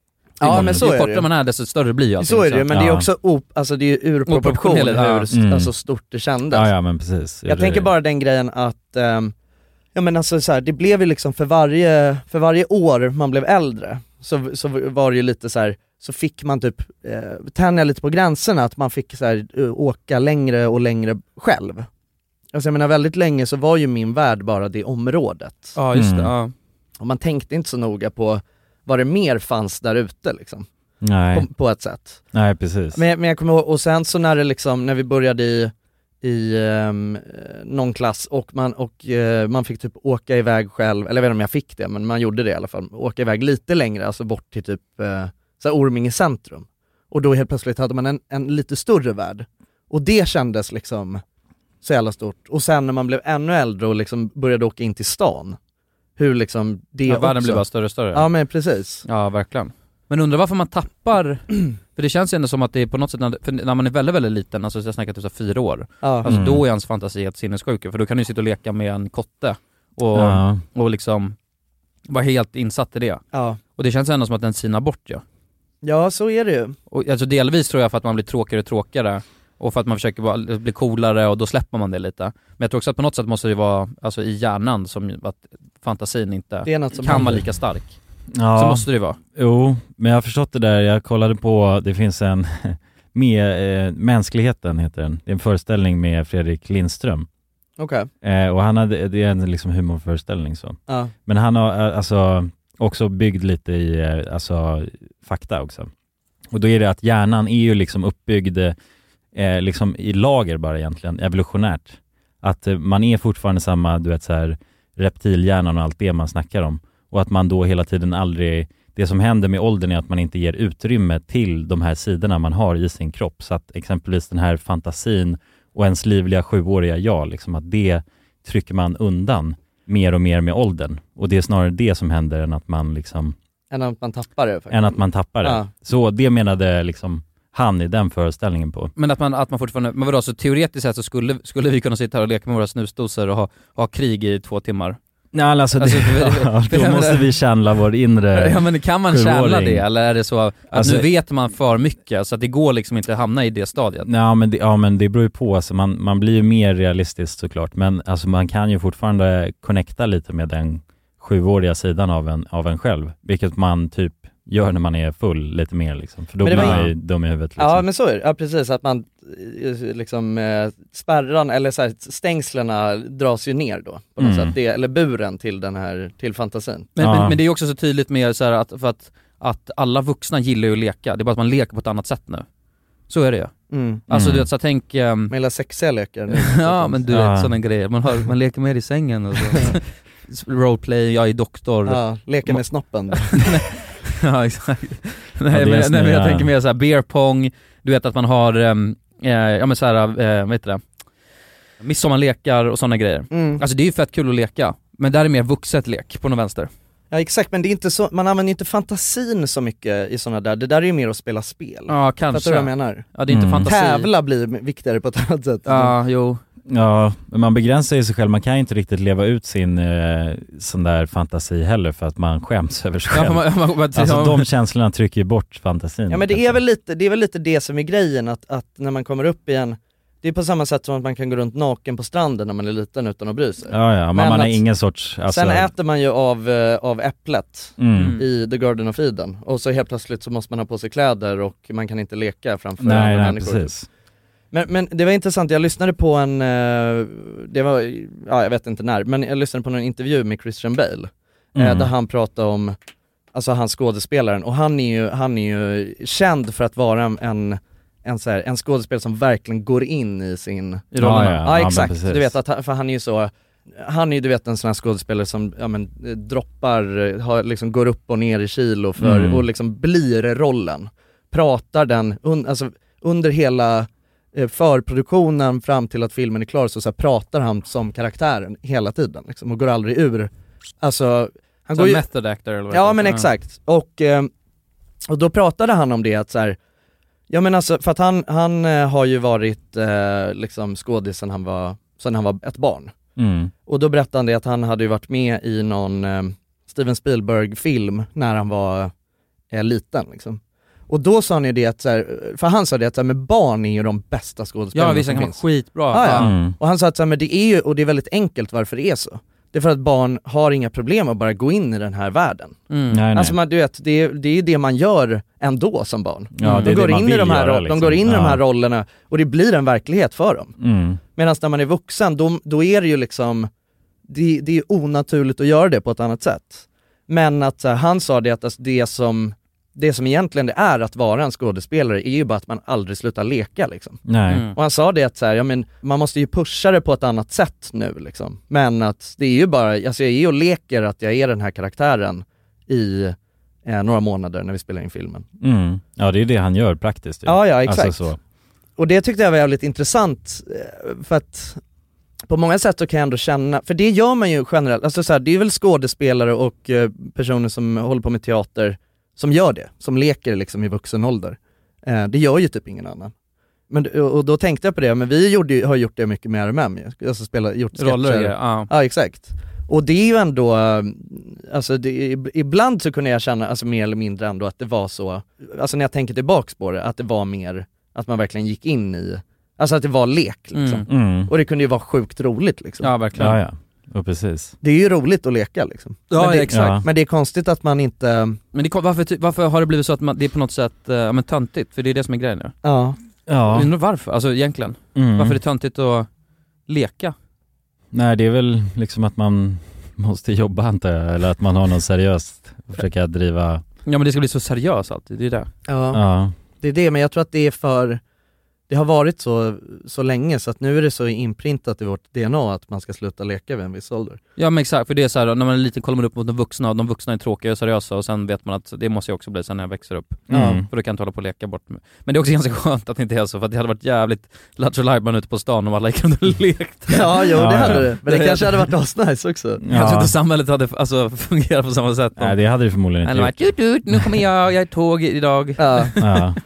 Speaker 2: Ja,
Speaker 4: Ju
Speaker 2: men så är det
Speaker 4: Ju
Speaker 2: ju.
Speaker 4: kortare man är desto större blir ju allting liksom.
Speaker 2: så är det ju,
Speaker 4: också.
Speaker 2: men det är
Speaker 3: Ja.
Speaker 2: också op, alltså det är ju ur proportion hur
Speaker 4: Oproportionerligt, ja.
Speaker 2: st-
Speaker 3: Mm.
Speaker 2: alltså, stort det kändes.
Speaker 3: ja, ja men precis.
Speaker 2: Jag tänker bara den grejen att, ehm, ja men alltså så här, det blev ju liksom för varje, för varje år man blev äldre så, så var det ju lite så här så fick man typ, eh, tänja lite på gränserna, att man fick så här, eh, åka längre och längre själv. Alltså jag menar väldigt länge så var ju min värld bara det området.
Speaker 4: Ja just det,
Speaker 3: Mm.
Speaker 4: ja.
Speaker 2: Och man tänkte inte så noga på vad det mer fanns där ute liksom,
Speaker 3: Nej,
Speaker 2: på, på ett sätt.
Speaker 3: nej precis.
Speaker 2: Men, men jag kommer ihåg, och sen så när det liksom, när vi började i, i ehm, eh, någon klass och, man, och eh, man fick typ åka iväg själv, eller jag vet inte om jag fick det, men man gjorde det i alla fall, åka iväg lite längre, alltså bort till typ eh, så här Orminge centrum. Och då helt plötsligt hade man en, en lite större värld. Och det kändes liksom så jävla stort. Och sen när man blev ännu äldre och liksom började åka in till stan, hur liksom det
Speaker 4: ja världen
Speaker 2: också-
Speaker 4: blir bara större och större.
Speaker 2: Ja men precis.
Speaker 4: Ja, verkligen. Men undrar varför man tappar, för det känns ju ändå som att det är på något sätt, när, för när man är väldigt väldigt liten, alltså jag snackar typ så här fyra år,
Speaker 2: Ja.
Speaker 4: alltså
Speaker 3: Mm.
Speaker 4: då är ens fantasi helt sinnessjuk för då kan du ju sitta och leka med en kotte och,
Speaker 3: Ja.
Speaker 4: och liksom vara helt insatt i det.
Speaker 2: Ja.
Speaker 4: Och det känns ändå som att den sinar bort ju. Ja.
Speaker 2: ja, så är det ju.
Speaker 4: Och, alltså delvis tror jag för att man blir tråkigare och tråkigare och för att man försöker vara, bli coolare och då släpper man det lite. Men jag tror också att på något sätt måste det vara alltså, i hjärnan som ju- att fantasin inte
Speaker 2: Det är något som
Speaker 4: kan vara
Speaker 2: händer.
Speaker 4: lika stark.
Speaker 1: Så måste det ju vara.
Speaker 3: Jo, men jag har förstått det där. Jag kollade på, det finns en, med, eh, Mänskligheten heter den. Det är en föreställning med Fredrik Lindström.
Speaker 2: Okej.
Speaker 3: Eh, och han hade, det är en liksom humorföreställning så.
Speaker 2: Ja.
Speaker 3: Men han har eh, alltså också byggd lite i eh, alltså, fakta också. Och då är det att hjärnan är ju liksom uppbyggd eh, liksom i lager bara egentligen, evolutionärt. Att eh, man är fortfarande samma, du vet så här reptilhjärnan och allt det man snackar om. Och att man då hela tiden aldrig, det som händer med åldern är att man inte ger utrymme till de här sidorna man har i sin kropp. Så att exempelvis den här fantasin och ens livliga sjuåriga jag, liksom att det trycker man undan mer och mer med åldern. Och det är snarare det som händer än att man liksom
Speaker 2: Än att man tappar det faktiskt.
Speaker 3: än att man tappar det.
Speaker 2: Ja.
Speaker 3: Så det menade liksom han i den föreställningen på.
Speaker 1: Men att man, att man fortfarande, men vadå, så teoretiskt sett så skulle, skulle vi kunna sitta här och leka med våra snusdosor och ha, ha krig i två timmar?
Speaker 3: Nej alltså, det,
Speaker 1: Alltså, för-
Speaker 3: ja,
Speaker 1: för jag
Speaker 3: då måste
Speaker 1: menar-
Speaker 3: vi känna vår inre
Speaker 1: Ja men kan man tjäna
Speaker 3: sjuåring.
Speaker 1: det eller är det så att
Speaker 3: Alltså-
Speaker 1: nu vet man för mycket så att det går liksom inte att hamna i det stadiet?
Speaker 3: Ja men, det, ja men det beror ju på, alltså, man, man blir ju mer realistisk såklart men alltså, man kan ju fortfarande connecta lite med den sjuåriga sidan av en, av en själv, vilket man typ gör när man är full lite mer liksom, för då
Speaker 2: Men
Speaker 3: blir
Speaker 2: det var
Speaker 3: man
Speaker 2: ju-
Speaker 3: ju dum i huvudet liksom.
Speaker 2: Ja men så är det, ja precis, att man eh, liksom eh, spärran, eller så här, stängslerna dras ju ner då på något
Speaker 1: Mm.
Speaker 2: sätt, det, eller buren till den här, till fantasin.
Speaker 1: Men, men, men det är ju också så tydligt med så här att, för att, att alla vuxna gillar ju att leka, det är bara att man leker på ett annat sätt nu. Så är det ju.
Speaker 2: Mm.
Speaker 1: Alltså
Speaker 2: Mm.
Speaker 1: du vet, så här, tänk... ehm,
Speaker 2: Med hela sexiga lekar nu.
Speaker 1: ja men du
Speaker 2: Ja.
Speaker 1: vet sådana grejer, man, har, man leker med i sängen och så. Roleplay, jag är doktor.
Speaker 2: Ja, leka med snoppen.
Speaker 1: ja exakt.
Speaker 2: Ja, det
Speaker 1: Nej,
Speaker 2: är
Speaker 1: men, nej men
Speaker 2: snygga-
Speaker 1: jag tänker mer såhär beer pong, du vet att man har, ehm, eh, ja men såhär, eh, vad heter det? Midsommarlekar och sådana grejer.
Speaker 2: Mm.
Speaker 1: Alltså det är ju fett kul att leka, men där är mer vuxet lek på någon vänster.
Speaker 2: Ja exakt, men det är inte så, man använder inte fantasin så mycket i sådana där, det där är ju mer att spela spel.
Speaker 1: Ja kanske.
Speaker 2: Fattar du vad jag menar?
Speaker 1: Ja det är inte
Speaker 3: Mm.
Speaker 1: fantasi.
Speaker 2: Tävla blir viktigare på ett annat sätt.
Speaker 1: Ja, jo.
Speaker 3: Ja, men man begränsar ju sig själv, man kan ju inte riktigt leva ut sin eh, sån där fantasi heller för att man skäms över sig
Speaker 1: Ja,
Speaker 3: själv.
Speaker 1: man- man- man-
Speaker 3: alltså
Speaker 1: ja.
Speaker 3: de känslorna trycker ju bort fantasin. Alltså.
Speaker 2: Ja men det är, väl lite, det är väl lite det som är grejen, att, att när man kommer upp igen, det är på samma sätt som att man kan gå runt naken på stranden när man är liten utan att bry sig.
Speaker 3: Ja, ja, men,
Speaker 2: Men
Speaker 3: man har
Speaker 2: att-
Speaker 3: ingen sorts, alltså,
Speaker 2: Sen äter man ju av, eh, av äpplet
Speaker 3: Mm.
Speaker 2: i The Garden of Eden, och så helt plötsligt så måste man ha på sig kläder och man kan inte leka framför
Speaker 3: nej,
Speaker 2: andra
Speaker 3: nej
Speaker 2: människor.
Speaker 3: precis.
Speaker 2: Men, men det var intressant, jag lyssnade på en, eh, det var, ja jag vet inte när, men jag lyssnade på en intervju med Christian Bale, eh,
Speaker 3: Mm.
Speaker 2: där han pratade om, alltså han skådespelaren, och han är ju, han är ju känd för att vara en, en en, så här, en skådespelare som verkligen går in i sin
Speaker 3: I rollerna. Ja, ja, ja, men
Speaker 2: exakt,
Speaker 3: precis.
Speaker 2: du vet att han, för han är ju så, han är ju du vet en sån här skådespelare som, ja men eh, droppar, eh, har, liksom går upp och ner i kilo för,
Speaker 3: Mm.
Speaker 2: och liksom blir rollen. Pratar den, un, alltså under hela eh, förproduktionen fram till att filmen är klar så, så här, pratar han som karaktären hela tiden liksom, och går aldrig ur, alltså han
Speaker 1: Så
Speaker 2: går ju,
Speaker 1: method actor eller vad det
Speaker 2: Ja
Speaker 1: heter.
Speaker 2: men exakt, och, eh, och då pratade han om det att så här, ja men alltså för att han, han eh, har ju varit eh, liksom skådis sedan han var, sedan han var ett barn.
Speaker 3: Mm.
Speaker 2: Och då berättade han det att han hade ju varit med i någon eh, Steven Spielberg-film när han var eh, liten liksom. Och då sa han ju det att, så här, för han sa det att så här, men barn är ju de bästa skådespelarna
Speaker 1: Ja vissa
Speaker 2: som
Speaker 1: kan vara
Speaker 2: finns.
Speaker 1: skitbra.
Speaker 2: Ja, ja.
Speaker 1: Mm.
Speaker 2: Och han sa att så här, men det är ju, och det är väldigt enkelt varför det är så. Det är för att barn har inga problem att bara gå in i den här världen.
Speaker 1: Mm. Nej,
Speaker 2: Alltså
Speaker 1: nej.
Speaker 2: man, du vet, det, är- det är ju det man gör ändå som barn.
Speaker 3: Ja, det
Speaker 2: de
Speaker 3: är
Speaker 2: går
Speaker 3: det man
Speaker 2: in i de
Speaker 3: vill
Speaker 2: här,
Speaker 3: göra,
Speaker 2: ro-
Speaker 3: liksom.
Speaker 2: de går in i de här
Speaker 3: Ja.
Speaker 2: rollerna och det blir en verklighet för dem.
Speaker 3: Mm.
Speaker 2: Medan när man är vuxen, då, då är det ju liksom, det, det är onaturligt att göra det på ett annat sätt. Men att så här, han sa det att alltså, det som, det som egentligen det är att vara en skådespelare är ju bara att man aldrig slutar leka liksom.
Speaker 3: Nej. Mm.
Speaker 2: Och han sa det att så här, ja, men, man måste ju pusha det på ett annat sätt nu liksom. Men att det är ju bara, alltså jag är ju och leker att jag är den här karaktären i eh, några månader när vi spelar in filmen.
Speaker 3: Mm. Ja det är det han gör praktiskt. ju.
Speaker 2: Ja, ja, exakt.
Speaker 3: Alltså, så.
Speaker 2: Och det tyckte jag var jävligt intressant eh, för att på många sätt så kan jag ändå känna, för det gör man ju generellt, alltså så här, det är väl skådespelare och eh, personer som håller på med teater som gör det, som leker liksom i vuxen ålder. Eh, Det gör ju typ ingen annan. Men, och då tänkte jag på det, men vi gjorde, ju- har gjort det mycket med RMM ju, alltså spela, gjort sketcher.
Speaker 1: Roller och grejer, ja.
Speaker 2: ja exakt. Och det är ju ändå, eh, alltså det, ibland så kunde jag känna, alltså mer eller mindre ändå att det var så, alltså när jag tänker tillbaks på det, att det var mer, att man verkligen gick in i, alltså att det var lek liksom.
Speaker 3: Mm. Mm.
Speaker 2: Och det kunde ju vara sjukt roligt liksom.
Speaker 1: Ja verkligen.
Speaker 3: Ja, ja. Ja, precis.
Speaker 2: Det är ju roligt att leka liksom.
Speaker 1: Ja,
Speaker 2: men, det,
Speaker 1: exakt. Ja.
Speaker 2: men det är konstigt att man inte,
Speaker 1: Men det, kom- varför, ty- varför har det blivit så att man, det är på något sätt, eh, ja men töntigt? För det är det som är grejen nu.
Speaker 2: ja.
Speaker 1: Jag
Speaker 3: Ja.
Speaker 1: Undrar varför, alltså egentligen.
Speaker 3: Mm.
Speaker 1: Varför är det töntigt att leka?
Speaker 3: Nej, det är väl liksom att man måste jobba antar jag, eller att man har någon seriöst, försöka driva,
Speaker 1: Ja men det ska bli så seriöst alltid, det är det.
Speaker 2: Ja,
Speaker 3: ja.
Speaker 2: det är det, men jag tror att det är för, det har varit så, så länge så att nu är det så inprintat i vårt DNA att man ska sluta leka vid en viss ålder.
Speaker 1: Ja men exakt, för det är så här, när man är liten kollar man upp mot de vuxna och de vuxna är tråkiga och seriösa och sen vet man att det måste jag också bli sen när jag växer upp.
Speaker 3: Mm.
Speaker 1: För då kan jag inte hålla på och leka bort mig. Men det är också ganska skönt att det inte är så för att det hade varit jävligt lattjo lajban ute på stan om alla gick runt och lekte.
Speaker 2: Ja, jo
Speaker 3: Ja,
Speaker 2: det
Speaker 3: ja.
Speaker 2: hade det. Men det
Speaker 1: Det-
Speaker 2: kanske hade varit asnice också.
Speaker 1: Jag tror
Speaker 3: Ja.
Speaker 1: inte samhället hade alltså, fungerat på samma sätt. om-
Speaker 3: Nej, det hade det förmodligen inte
Speaker 1: Eller bara,
Speaker 3: gjort.
Speaker 1: "Tut, tut, nu kommer jag, jag är tåg idag.
Speaker 2: Ja.
Speaker 3: Ja.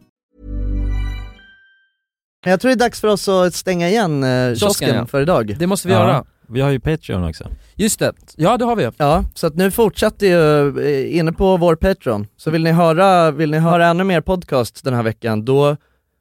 Speaker 2: Men jag tror det är dags för oss att stänga igen eh, kiosken
Speaker 1: Kiosken, ja.
Speaker 2: för idag.
Speaker 1: Det måste vi göra.
Speaker 3: Vi har ju Patreon också.
Speaker 1: Just det, ja det har vi.
Speaker 2: Ja, så att nu fortsätter ju eh, inne på vår Patreon. Så vill ni höra, vill ni höra ännu mer podcast den här veckan, då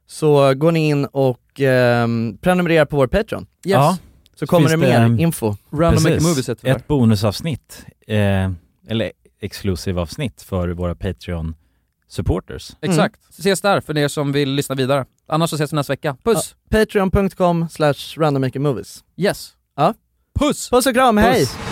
Speaker 2: så går ni in och ehm, prenumererar på vår Patreon.
Speaker 1: Yes. Ja.
Speaker 2: Så kommer det
Speaker 3: Finns
Speaker 2: mer
Speaker 3: ehm,
Speaker 2: info.
Speaker 1: Random
Speaker 3: precis,
Speaker 1: Maker Movies heter det.
Speaker 3: Ett bonusavsnitt, eh, eller exklusivavsnitt för våra Patreon-supporters.
Speaker 1: Exakt. Ses där för er som vill lyssna vidare. Annars så ses vi nästa vecka. Puss!
Speaker 2: Patreon.com slash randommakermovies.
Speaker 1: Yes!
Speaker 2: Ja.
Speaker 1: Puss!
Speaker 2: Puss och kram, hej!
Speaker 1: Puss.